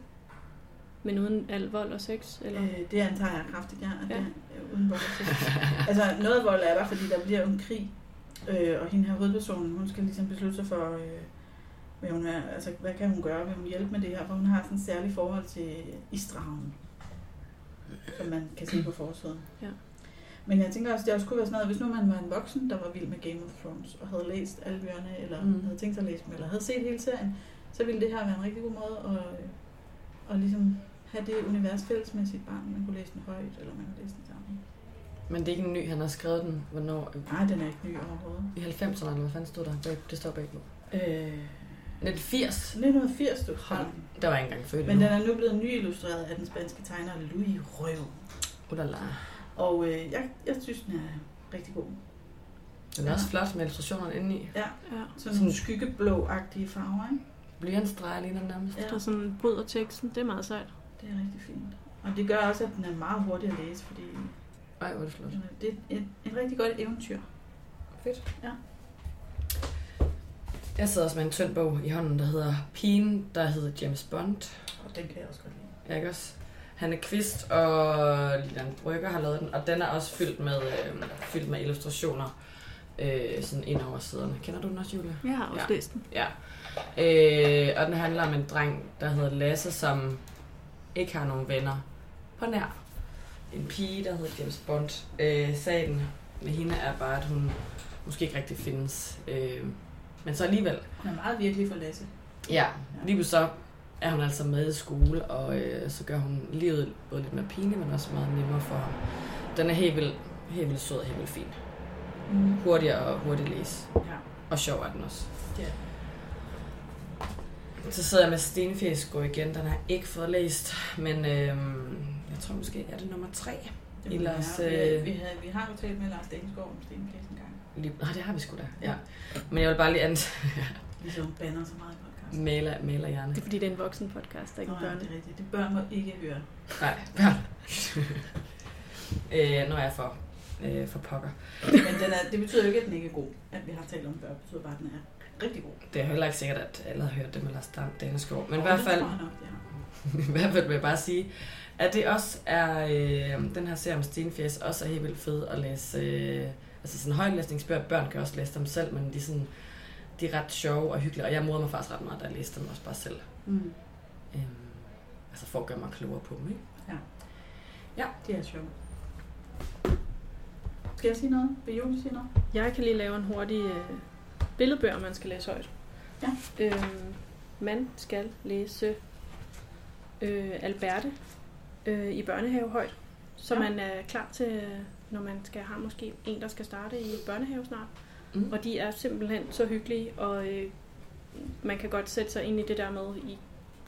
Men uden al vold og sex? Eller? Øh, det antager jeg kraftigt, ja. At Ja. ja. Det, er, øh, uden vold. <laughs> og sex. altså, noget vold er der, fordi der bliver jo en krig, øh, og hende her hovedpersonen, hun skal ligesom beslutte sig for, øh, hvad, hun er, altså, hvad kan hun gøre, vil hun hjælpe med det her, for hun har sådan et særligt forhold til Istraven, som man kan se på <clears throat> forsiden. Ja. Men jeg tænker også, det også kunne være sådan noget, hvis nu man var en voksen, der var vild med Game of Thrones, og havde læst alle bøgerne, eller Mm. mm. havde tænkt sig at læse dem, eller havde set hele serien, så ville det her være en rigtig god måde at, at ligesom have det univers fælles med sit barn. Man kunne læse den højt, eller man kunne læse den sammen. Men det er ikke en ny, han har skrevet den, hvornår... Nej, den er ikke ny overhovedet. I 90'erne, eller hvad fanden stod der? Bag, det står bagpå. Øh, 1980. 1980, du Hold Der var jeg ikke engang født Men den er nu blevet nyillustreret af den spanske tegner Louis Røv. Udala. Og øh, jeg, jeg synes, den er rigtig god. Den er også flot med illustrationerne indeni. Ja. Sådan nogle skyggeblå-agtige farver, ikke? Blyantstreger ligner den nærmest. Ja, Der sådan bryder teksten. Det er meget sejt. det er rigtig fint. Og det gør også, at den er meget hurtig at læse, fordi Ej, hvor er det flot. den er- det er et, et rigtig godt eventyr. Fedt. Ja. Jeg sidder også med en tynd bog i hånden, der hedder Pigen, der hedder James Bond. Og den kan jeg også godt lide. Ja, ikke også? Han er kvist, og Lilian Brygger har lavet den, og den er også fyldt med, øh, fyldt med illustrationer øh, sådan ind over siderne. Kender du den også, Julia? Jeg har også Ja. ja. læst den. Ja. Øh, og den handler om en dreng, der hedder Lasse, som ikke har nogen venner på nær. En pige, der hedder James Bond. Øh, sagen med hende er bare, at hun måske ikke rigtig findes. Øh, men så alligevel. Den er meget virkelig for Lasse. Ja, lige pludselig så er hun altså med i skole, og øh, så gør hun livet både lidt mere pinligt, men også meget nemmere for ham. Den er helt vildt, helt vildt sød og helt vildt fin. Mm. Hurtig og hurtig læse. Ja. Og sjov er den også. Det er Så sidder jeg med Stenfisk igen. Den har jeg ikke fået læst, men øhm, jeg tror måske, er det nummer tre. Det Ellers, må være. øh, vi, vi, havde, vi har jo talt med Lars Dengskov om Stenflæs en gang. Lige, nej, det har vi sgu da. Ja. Men jeg vil bare lige andet Ligesom banner så meget i podcasten. maler, maler hjerne. Det er fordi, det er en voksen podcast, der ikke Nå, er ja, børne. det er rigtigt. Det børn må ikke høre. Nej, børn. <laughs> øh, når jeg er for, øh, for pokker. Men den er, det betyder jo ikke, at den ikke er god, at vi har talt om før. Det betyder bare, at den er rigtig god. Det er heller ikke sikkert, at alle har hørt det med Lars Dan- Daneskov. Men i Og hvert det fald, tror jeg nok, det har. <laughs> i hvert fald vil jeg bare sige, at det også er, øh, den her serie om Stenfjæs, også er helt vildt fed at læse, øh, altså sådan højlæsningsbøger, børn kan også læse dem selv, men de er, sådan, de er ret sjove og hyggelige, og jeg modede mig faktisk ret meget, da jeg læste dem også bare selv. Mm. Øh, altså for at gøre mig klogere på dem, ikke? Det er sjovt. Skal jeg sige noget? Vil Julie sige noget? Jeg kan lige lave en hurtig øh, billedbøger, man skal læse højt. Ja. Øhm, man skal læse øh, Alberte øh, i børnehave højt, så Ja. ja. man er klar til, øh, når man skal have måske en, der skal starte i børnehave snart. Mm. Og de er simpelthen så hyggelige, og øh, man kan godt sætte sig ind i det der med, i,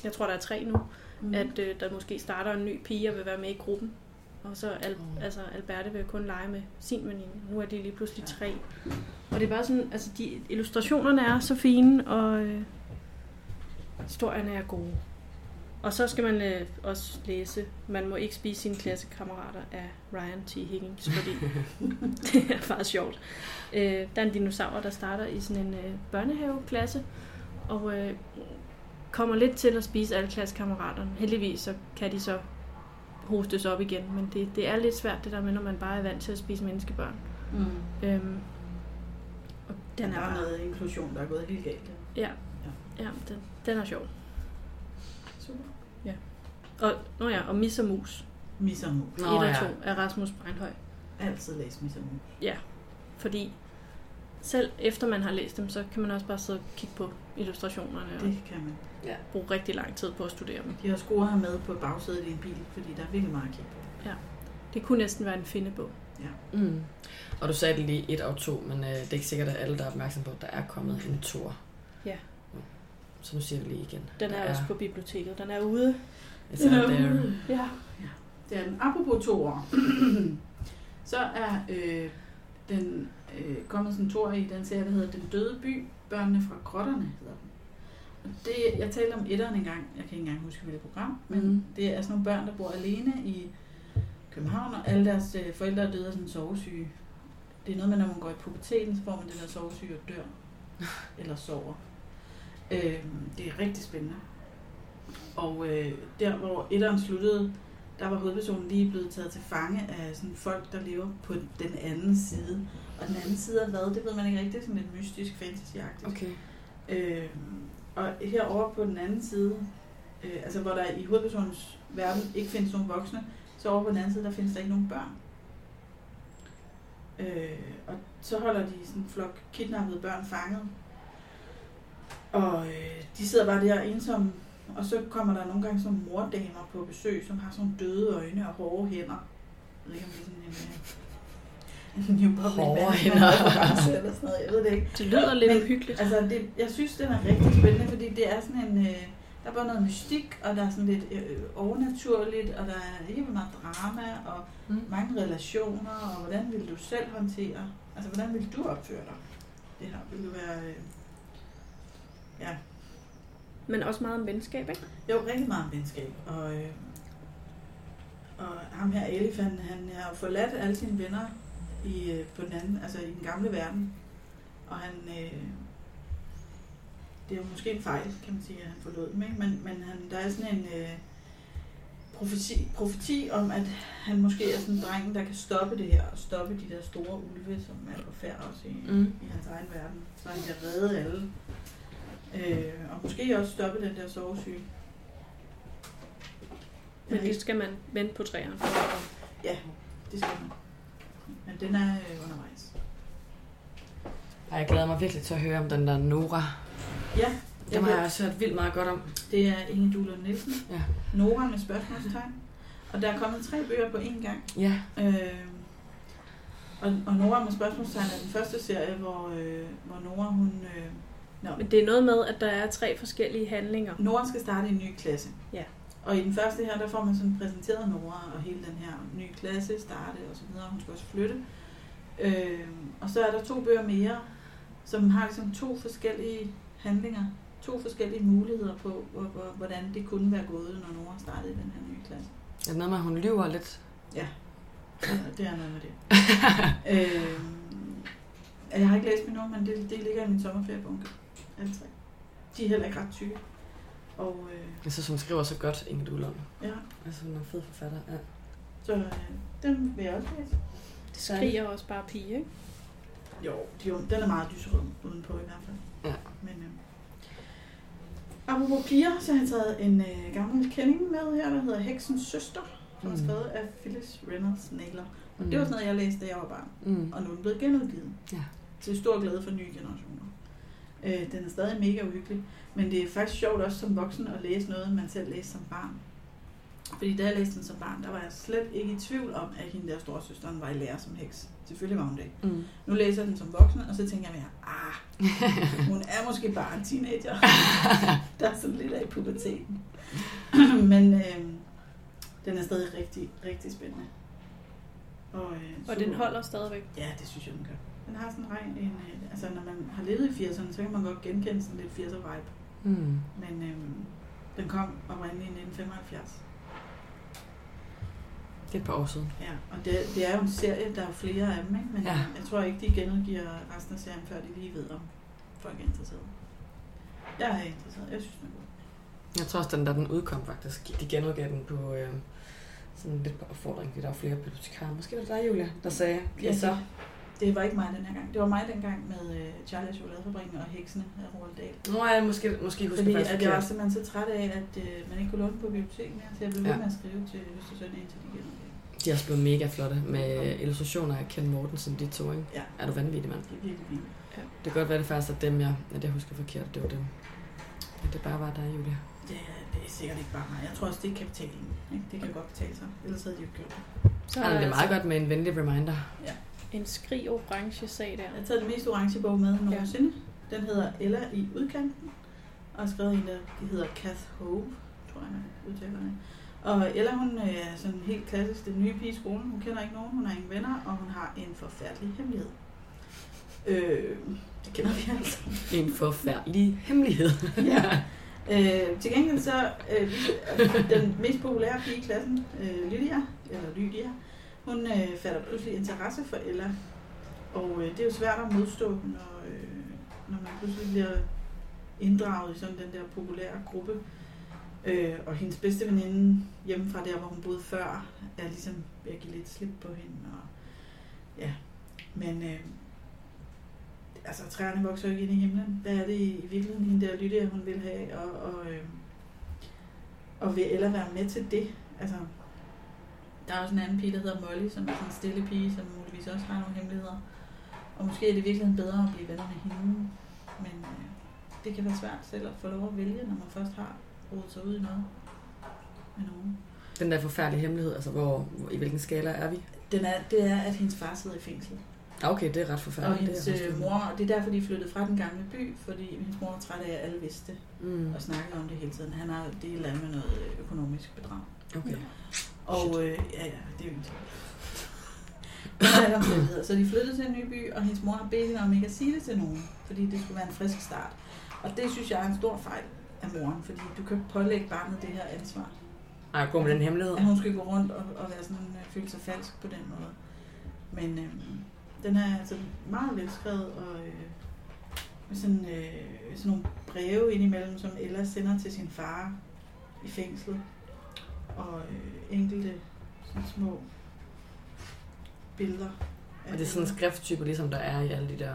jeg tror der er tre nu, Mm. at øh, der måske starter en ny pige og vil være med i gruppen. Og så Al- Åh. altså, Alberte vil kun lege med sin veninde. Nu er de lige pludselig Ja. tre. Og det er bare sådan, altså de, illustrationerne er så fine, og øh, historierne er gode. Og så skal man øh, også læse, man må ikke spise sine klassekammerater af Ryan T. Higgins, fordi det er faktisk sjovt. Øh, der er en dinosaur, der starter i sådan en øh, børnehaveklasse, og øh, kommer lidt til at spise alle klassekammeraterne. Heldigvis så kan de så hostes op igen, men det, det er lidt svært det der med, når man bare er vant til at spise menneskebørn. Mm. Øhm, og den er der er bare, noget inklusion, der er gået helt galt. ja. ja, den, den er sjov. Super. Og, nå ja, og Miss og Mus, Miss og Mo. 1 og 2 af Rasmus Breinhøj. Altid læs Miss og Mo. Fordi selv efter man har læst dem, så kan man også bare sidde og kigge på illustrationerne og Det kan man. bruge rigtig lang tid på at studere dem. De har også gode at have med på bagsædet i en bil, fordi der er virkelig meget at kigge på. Det kunne næsten være en findebog. Mm. Og du sagde det lige et og to, men øh, det er ikke sikkert, at alle der er opmærksom på, at der er kommet en tor. Ja. Så nu siger vi lige igen. Den er ja. også på biblioteket. Den er ude. It's out <laughs> there. Ja. Den, apropos to år, <clears throat> så er øh, den øh, kommet sådan to år i den serie, der hedder Den døde by, børnene fra grotterne hedder den. Og det, jeg talte om etteren engang, jeg kan ikke engang huske hvilket program, men Mhm. det er sådan nogle børn, der bor alene i København, og alle deres øh, forældre er døde af sådan sovesyge. Det er noget med, når man går i puberteten, så får man den der sovesyge og dør. Eller sover. Øh, det er rigtig spændende. Og øh, der, hvor etteren sluttede, der var hovedpersonen lige blevet taget til fange af sådan folk, der lever på den anden side. Og den anden side af hvad, det ved man ikke rigtigt. Det er sådan lidt mystisk, fantasyagtigt. Okay. Øh, og herover på den anden side, øh, altså hvor der i hovedpersonens verden ikke findes nogen voksne, så over på den anden side, der findes der ikke nogen børn. Øh, og så holder de sådan en flok kidnappede børn fanget. Og øh, de sidder bare der ensomme, og så kommer der nogle gange sådan nogle mordamer på besøg, som har sådan nogle døde øjne og hårde hænder. Jeg ved ikke, om det er sådan en... Øh, en New Public Hårde Management hænder. reference eller sådan noget, jeg ved det ikke. Det lyder lidt Men- uhyggeligt. Altså, det, jeg synes, den er rigtig spændende, fordi det er sådan en... Øh, der er både noget mystik, og der er sådan lidt øh, overnaturligt, og der er helt vildt meget drama, og Mm. mange relationer, og hvordan vil du selv håndtere? Altså, hvordan vil du opføre dig? Det her vil du være... Øh, Men også meget om venskab, ikke? jo, rigtig meget om venskab, og... Øh, og ham her, Elif, han, han har jo forladt alle sine venner i, øh, på den anden, altså i den gamle verden. Og han, øh, det er jo måske en fejl, kan man sige, at han forlod dem, ikke? Men, men han, der er sådan en øh, profeti, profeti om, at han måske er sådan en dreng, der kan stoppe det her, og stoppe de der store ulve, som er på færd også i, Mm. i hans egen verden, så han kan redde alle. Øh, og måske også stoppe den der sovesyge. Men Men det skal man vente på træerne for. at- det skal man. Men den er øh, undervejs. Ej, jeg glæder mig virkelig til at høre om den der Nora. Ja, ved- Dem har jeg også hørt vildt meget godt om. det er Inge Duler Nielsen. Ja. Nora med spørgsmålstegn. Og der er kommet tre bøger på én gang. Ja. Øh, og, og Nora med spørgsmålstegn er den første serie, hvor, øh, hvor Nora, hun... Øh, Men det er noget med, at der er tre forskellige handlinger. Nora skal starte i en ny klasse. Ja. Og i den første her, der får man sådan præsenteret Nora og hele den her nye klasse, starte og så videre. Hun skal også flytte. Øh, og så er der to bøger mere, som har ligesom to forskellige handlinger, to forskellige muligheder på, hvor, hvor, hvordan det kunne være gået, når Nora startede i den her nye klasse. Er det noget med, at hun lyver lidt? Ja, det er noget med det. øh, jeg har ikke læst dem endnu, men det, det ligger i min sommerferiebunke. Alle tre. De er heller ikke ret tykke. Og øh, Jeg synes, hun skriver så godt, Inge Dullund. ja, Altså, hun er en fed forfatter. Ja. Så øh, den vil jeg også læse. Det skriger også bare pige, ikke? Jo, de, er jo- den er meget lyserød udenpå i hvert fald. Ja. Men, øh. Apropos piger, så har jeg taget en øh, gammel kending med her, der hedder Heksens Søster, som er Mm. skrevet af Phyllis Reynolds Naylor. Mm. Det var sådan noget, jeg læste, da jeg var barn, Mm. og nu er den blevet genudgivet. Ja. Til stor glæde for nye generationer. Øh, den er stadig mega uhyggelig, men det er faktisk sjovt også som voksen at læse noget, man selv læste som barn. Fordi da jeg læste den som barn, der var jeg slet ikke i tvivl om, at hende der storesøsteren var i lære som heks. Selvfølgelig var hun det. Mm. Nu læser jeg den som voksen, og så tænker jeg mere, ah, hun er måske bare en teenager. Der er sådan lidt af i puberteten. Men øh, den er stadig rigtig, rigtig spændende. Og, øh, Og super- den holder stadigvæk. Ja, det synes jeg, den gør. Den har sådan en regn, en, øh, altså når man har levet i 80'erne, så kan man godt genkende sådan lidt 80'er vibe. Mm. Men øh, den kom oprindeligt i 1975. Det er et par år siden. Ja, og det, det er jo en serie, der er jo flere af dem, ikke? men Ja. ja. jeg tror ikke, de genudgiver resten af serien, før de lige ved, om folk er interesseret. Jeg er interesseret, jeg synes, den er god. Jeg tror også, den der den udkom faktisk. De genudgav den på øh, sådan lidt på opfordring, fordi der var flere bibliotekarer. Måske var det dig, Julia, der sagde, ja, så. Det var ikke mig den her gang. Det var mig dengang med øh, Charlie og Chokoladefabrikken og Heksene af Roald Dahl. Nå, ja, måske, måske husker Fordi jeg faktisk at jeg var forkert. simpelthen så træt af, at øh, man ikke kunne låne den på biblioteket mere, så jeg blev ved Ja. med at skrive til Østersøn indtil de genudgav. De er også blevet mega flotte med øh, illustrationer af Ken Mortensen, de to, ikke? Ja. Er du vanvittig, mand? Det er virkelig fint. Det kan godt være, det faktisk er dem, jeg, at jeg husker forkert. Det var dem. At det bare var dig, Julia. Det, er- det er sikkert ikke bare mig. Jeg tror også, det er kapitalen. Ikke? Det kan godt betale sig. Ellers havde de jo ikke gjort det. Så altså Ja, det er altså- meget godt med en venlig reminder. en skrig orange sag der. Jeg har taget den mest orange bog med nogensinde. Den hedder Ella i udkanten, og er skrevet af en, der hedder Kath Hove, tror jeg, man udtaler det. Og Ella, hun øh, er sådan helt klassisk den nye pige i skolen. Hun kender ikke nogen, hun har ingen venner, og hun har en forfærdelig hemmelighed. Øh, det kender vi altså. En forfærdelig hemmelighed. <laughs> Ja. Øh, til gengæld så øh, den mest populære pige i klassen, øh, Lydia, eller Lydia, hun øh, fatter pludselig interesse for Ella. Og øh, det er jo svært at modstå, når, øh, når man pludselig bliver inddraget i sådan den der populære gruppe. Øh, og hendes bedste veninde hjemme fra der, hvor hun boede før, er ligesom ved at give lidt slip på hende. Og, ja. Men øh, altså, træerne vokser jo ikke ind i himlen. Hvad er det i i virkeligheden, hende der Lydia, hun vil have? Og, og, øh, og vil Ella være med til det? Altså, der er også en anden pige, der hedder Molly, som er sådan en stille pige, som muligvis også har nogle hemmeligheder. Og måske er det i virkeligheden bedre at blive venner med hende. Men øh, det kan være svært selv at få lov at vælge, når man først har rodet sig ud i noget med nogen. <laughs> Den der forfærdelige hemmelighed, altså hvor, hvor, i hvilken skala er vi? Den er, det er, at hendes far sidder i fængsel. Ah, okay, det er ret Ja, og forfærdeligt. hendes det er øh, mor, og det er derfor, de er flyttet fra den gamle by, fordi hendes mor er træt af, at alle vidste det, Mm, og snakkede om det hele tiden. Han har det eller andet med noget øh, økonomisk bedrag. okay. Og øh, ja, ja, det er jo ikke omstændigheder. Så de flyttede til en ny by, og hendes mor har bedt hende om ikke at sige det til nogen, fordi det skulle være en frisk start. Og det synes jeg er en stor fejl af moren, fordi du kan ikke pålægge barnet det her ansvar. Ej, jeg går med den hemmelighed. At hun skal gå rundt og, og være sådan, øh, føle sig falsk på den måde. Men øh, den er altså meget velskrevet, og øh, med sådan, øh, sådan nogle breve indimellem, som Ella sender til sin far i fængslet. Og øh, enkelte sådan små billeder. af Og det er sådan en Ella. skrifttype, ligesom der er i alle de der...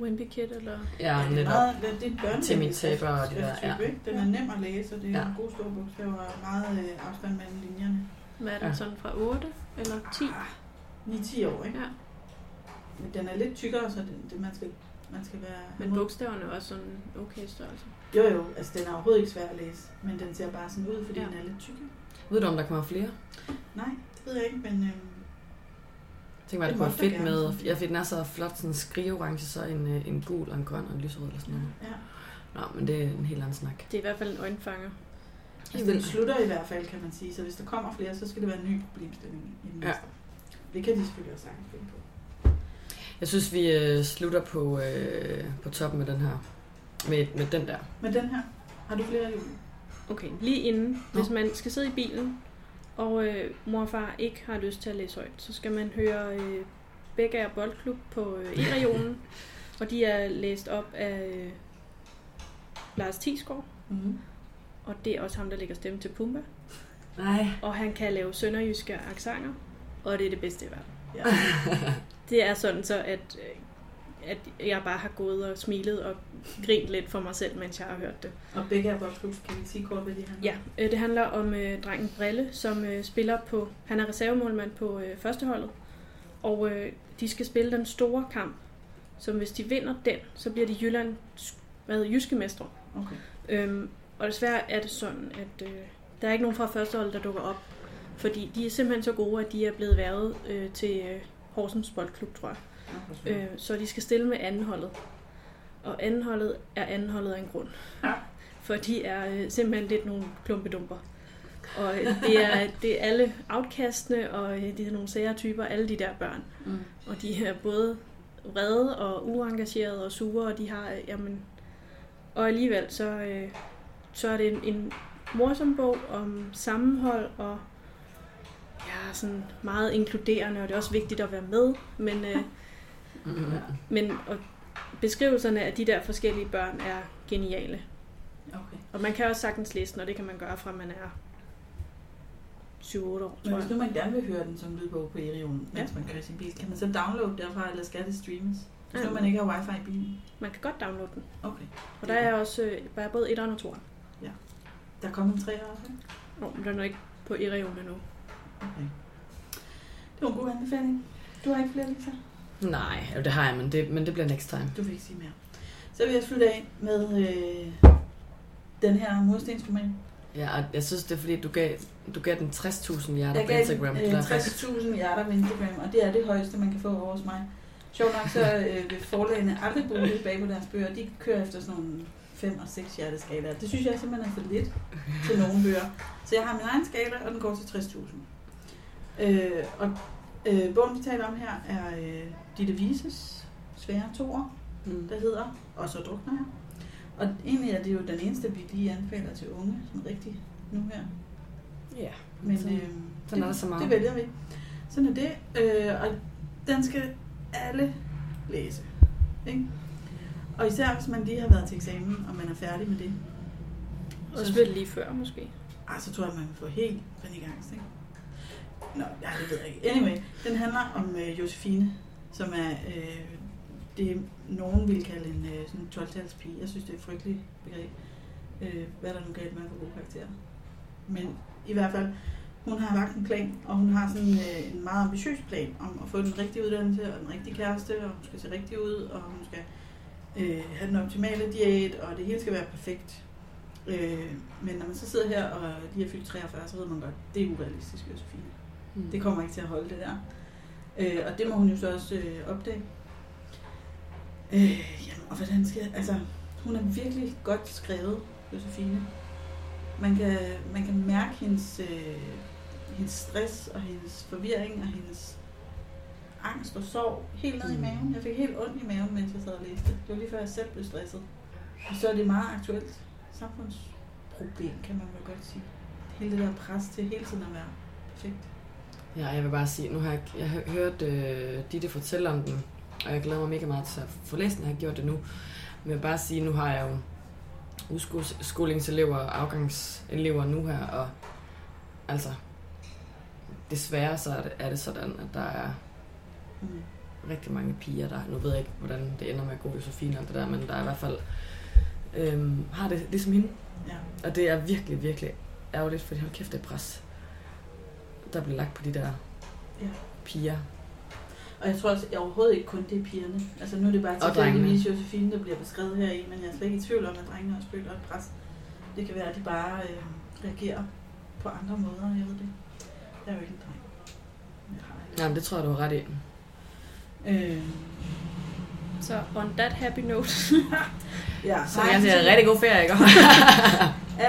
Wimpy Kid, eller... Ja, det er netop. meget, det er en børne- Til min taber og det der, skrifttype, ja. ikke? Den er nem at læse, og det er Ja. ja. gode store bogstaver og meget øh, afstand mellem linjerne. Hvad er den Ja. sådan fra 8 eller 10? 9-10 år, ikke? Ja, Men den er lidt tykkere, så det, det man, skal, man skal være... men bogstaverne er også sådan okay størrelse. Jo jo, altså den er overhovedet ikke svær at læse, men den ser bare sådan ud, fordi Ja. ja. den er lidt tykkere. Ved du, om der kommer flere? Nej, det ved jeg ikke, men øh, Jeg tænker mig, at det Det kunne måtte være fedt jeg med... gerne. Ja, fordi den er så flot, sådan en skrigeorange, så en, øh, en gul og en grøn og en lyserød eller sådan noget. ja. Nå, men det er en helt anden snak. Det er i hvert fald en øjenfanger. Altså, den slutter i hvert fald, kan man sige, så hvis der kommer flere, så skal det være en ny problemstilling i den Ja. næste. Det kan de selvfølgelig også sagtens finde på. Jeg synes, vi øh, slutter på, øh, på toppen med den her. Med, med den der. Men den her, har du flere jul? Okay, lige inden, hvis man skal sidde i bilen, og øh, mor og far ikke har lyst til at læse højt, så skal man høre øh, Begge Boldklub på øh, <laughs> E-regionen, og de er læst op af øh, Lars Tisgaard, Mm. og det er også ham, der lægger stemme til Pumba, Nej. og han kan lave sønderjyske accenter, og det er det bedste i verden. Ja. Det er sådan så, at, øh, at jeg bare har gået og smilet og grint lidt for mig selv, mens jeg har hørt det. Og begge er boldklub, kan vi sige kort, hvad de handler? Ja, øh, det handler om øh, drengen Brille, som øh, spiller på, han er reservemålmand på øh, førsteholdet, og øh, de skal spille den store kamp, som hvis de vinder den, så bliver de Jylland, hvad hedder, jyske mestre. Okay. Øhm, og desværre er det sådan, at øh, der er ikke nogen fra førsteholdet, der dukker op. Fordi de er simpelthen så gode, at de er blevet været øh, til øh, Horsens Boldklub, tror jeg. Nå, Øh, så de skal stille med andenholdet. Og andenholdet er andenholdet af en grund. Ja. For de er øh, simpelthen lidt nogle klumpedumper. Og øh, det er, det er alle outcastene, og øh, det er nogle sære typer, alle de der børn. Mm. Og de er både vrede og uengagerede og sure, og de har, øh, jamen, og alligevel så, øh, så er det en, en morsom bog om sammenhold og ja, sådan meget inkluderende, og det er også vigtigt at være med, men, øh, Mm-hmm. men og beskrivelserne af de der forskellige børn er geniale. Okay. Og man kan også sagtens læse den, og det kan man gøre fra man er 7-8 år, Men tror hvis jeg. nu man gerne vil høre den som lydbog på E-regionen, Ja. mens man kører i sin bil, kan man så downloade derfra, eller skal det streames? Hvis nu Ja, man ikke har wifi i bilen? Man kan godt downloade den. Okay. Og der er også øh, der er både 1'eren og 2'eren. Der kom en træer også, ikke? Nå, men den er ikke på e-regionen endnu. Okay. Det var en god anbefaling. Du har ikke flere, Lisa? Nej, jo, det har jeg, men det, men det bliver next time. Du vil ikke sige mere. Så vil jeg slutte af med øh, den her murstensroman. Ja, og jeg synes, det er fordi, du gav, du gav den 60.000 hjerter Jeg på gav Instagram. den, Det øh, er faktisk- 60.000 hjerter på Instagram, og det er det højeste, man kan få over hos mig. Sjovt nok så øh, vil forlagene aldrig bruge det bag på deres bøger. De kører efter sådan nogle 5 og 6 hjerteskalaer. Det synes jeg simpelthen er for lidt til nogle bøger. Så jeg har min egen skala, og den går til 60.000. Øh, og øh, bogen, vi taler om her, er øh, Ditte Vises svære toer, Mm. der hedder Og så drukner jeg. Og egentlig er det jo den eneste, vi lige anbefaler til unge, sådan rigtig nu her. Ja. Men Sådan- øh, sådan det, er der så meget. det vælger vi. Sådan er det. Øh, og den skal alle læse. Ikke? Og især hvis man lige har været til eksamen, og man er færdig med det, Også lidt lige før måske. ah, så tror jeg, man får helt panikangst. Ikke? Nå, ja, det ved jeg ikke. Anyway, den handler om øh, Josefine, som er øh, det, nogen vil kalde en øh, sådan 12-tals pige. Jeg synes, det er et frygteligt begreb. Øh, hvad er der nu galt med at få gode karakterer? Men i hvert fald, hun har lagt en plan, og hun har sådan øh, en meget ambitiøs plan om at få den rigtige uddannelse og den rigtige kæreste, og hun skal se rigtig ud, og hun skal øh, have den optimale diæt, og det hele skal være perfekt. Øh, men når man så sidder her og lige er fyldt 43, så ved man godt, det er urealistisk, Josefine. Mm. Det kommer ikke til at holde det der. Øh, og det må hun jo så også øh, opdage. Øh, jamen, og hvordan skal Altså, hun er virkelig godt skrevet, Josefine. Man kan, man kan mærke hendes, øh, hendes stress og hendes forvirring og hendes angst og sorg helt ned i Mm. maven. Jeg fik helt ondt i maven, mens jeg sad og læste. Det var lige før jeg selv blev stresset. Og så er det meget aktuelt samfundsproblem, kan man vel godt sige. Hele det der pres til hele tiden at være perfekt. Ja, jeg vil bare sige, nu har jeg, jeg har hørt øh, Ditte fortælle om den, og jeg glæder mig mega meget til at få læst den, jeg har gjort det nu. Men jeg vil bare sige, nu har jeg jo udskolingselever og afgangselever nu her, og altså, desværre så er det, er det sådan, at der er Mm. rigtig mange piger, der, nu ved jeg ikke, hvordan det ender med at gå Josefine og alt det der, men der er i hvert fald, øhm, har det ligesom hende. Ja. Og det er virkelig, virkelig ærgerligt, fordi hold kæft, det er pres, der bliver lagt på de der Ja. piger. Og jeg tror også, jeg overhovedet ikke kun det er pigerne. Altså nu er det bare Og tilfældigvis Josefine, der bliver beskrevet her i, men jeg er slet ikke i tvivl om, at drengene også føler et pres. Det kan være, at de bare øh, reagerer på andre måder, jeg ved det. ikke. Jeg er jo ikke en dreng. Jeg har ikke. Jamen, det tror jeg, du har ret i. Øh, Så on that happy <laughs> note. ja, Så nej, jeg siger, til rigtig god ferie, ikke?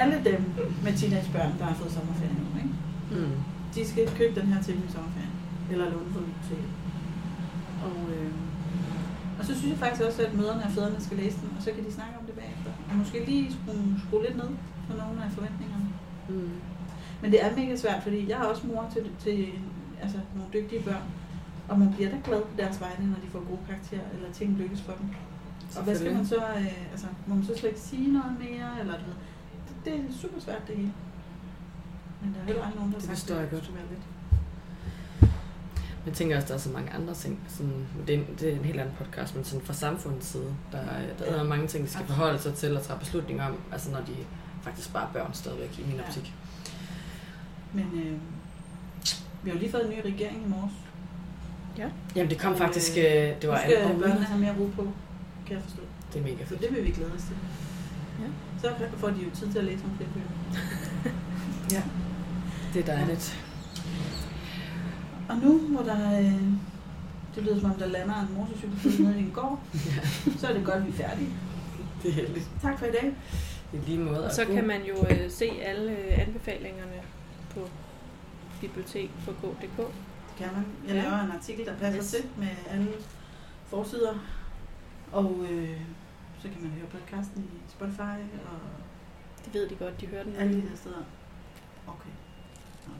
Alle dem med teenagebørn, der har fået sommerferie nu, ikke? mm. de skal købe den her til min sommerferie. Eller låne på biblioteket. Og, øh, og så synes jeg faktisk også, at møderne og fædrene skal læse den, og så kan de snakke om det bagefter. Og måske lige skrue, skrue lidt ned på nogle af forventningerne. <laughs> Mm. Men det er mega svært, fordi jeg er også mor til, til altså, nogle dygtige børn. Og man bliver da glad på deres vegne, når de får gode karakterer, eller ting lykkes for dem. Og hvad skal man så, øh, altså, må man så slet ikke sige noget mere, eller du ved, det, det er super svært det hele. Men der er heller aldrig nogen, der Det har sagt, forstår jeg at det godt. skulle være lidt. Jeg tænker også, der er så mange andre ting. Sådan, det, er, en- det er en helt anden podcast, men sådan fra samfundets side, der, er- der er mange ting, de skal forholde sig til og træffe beslutninger om, altså når de faktisk bare er børn stadigvæk i min Ja. optik. Men øh, vi har jo lige fået en ny regering i morges. Jamen, det kom Øh, faktisk... Øh, det var nu skal alle- børnene have mere ro på, kan jeg forstå. Det er mega Så fedt. det vil vi glæde os til. Ja. Så får de jo tid til at læse nogle flere bøger. Det er dejligt. Og nu, hvor der... Øh, det lyder som om, der lander en motorcykel nede i en <laughs> gård. Så er det godt, vi er færdige. Det er heldigt. Tak for i dag. I lige måde. Og og så god- kan man jo øh, se alle øh, anbefalingerne på bibliotek.dk. Det kan man. Jeg Ja. laver en artikel, der passer Yes. til med alle forsider. Og øh, så kan man høre podcasten i Spotify og Det ved de godt, de hører den. alle de her steder. Okay. Nå.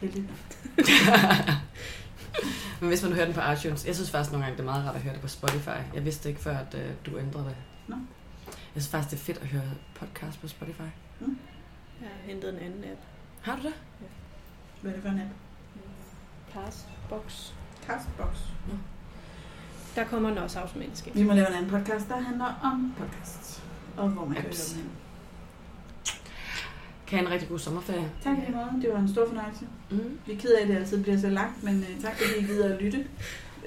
Heldigt. <laughs> Men hvis man hører den på iTunes, jeg synes faktisk nogle gange, det er meget rart at høre det på Spotify. Jeg vidste ikke før, at øh, du ændrede det. Nå. Jeg synes faktisk, det er fedt at høre podcast på Spotify. Jeg har hentet en anden app. Har du det? Hvad er det for en app? Passbox. Castbox. Der kommer en også automatisk. Vi må lave en anden podcast, der handler om podcasts. Og hvor man kan Apps. høre dem hen. Kan I have en rigtig god sommerferie. Tak i lige måde. Det var en stor fornøjelse. Mm. Vi er ked af, at det altid bliver så langt, men øh, tak fordi I gider at lytte.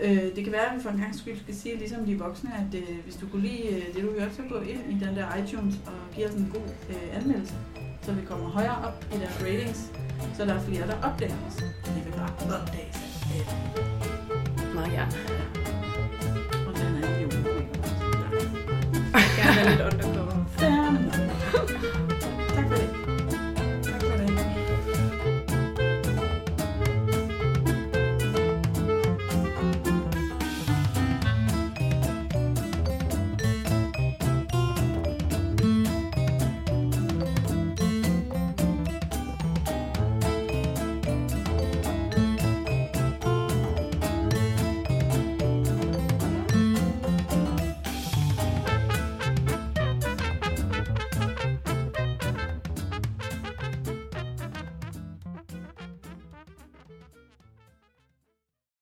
Øh, det kan være, at vi for en gang skyld skal sige, ligesom de voksne, at øh, hvis du kunne lide øh, det, du hørte, så gå ind i den der iTunes og give os en god øh, anmeldelse, så vi kommer højere op i deres ratings, så der er flere, der opdager os. Det vil bare opdages. af alle. Meget gerne. den er ikke i ugen. <laughs> Gerne lidt under.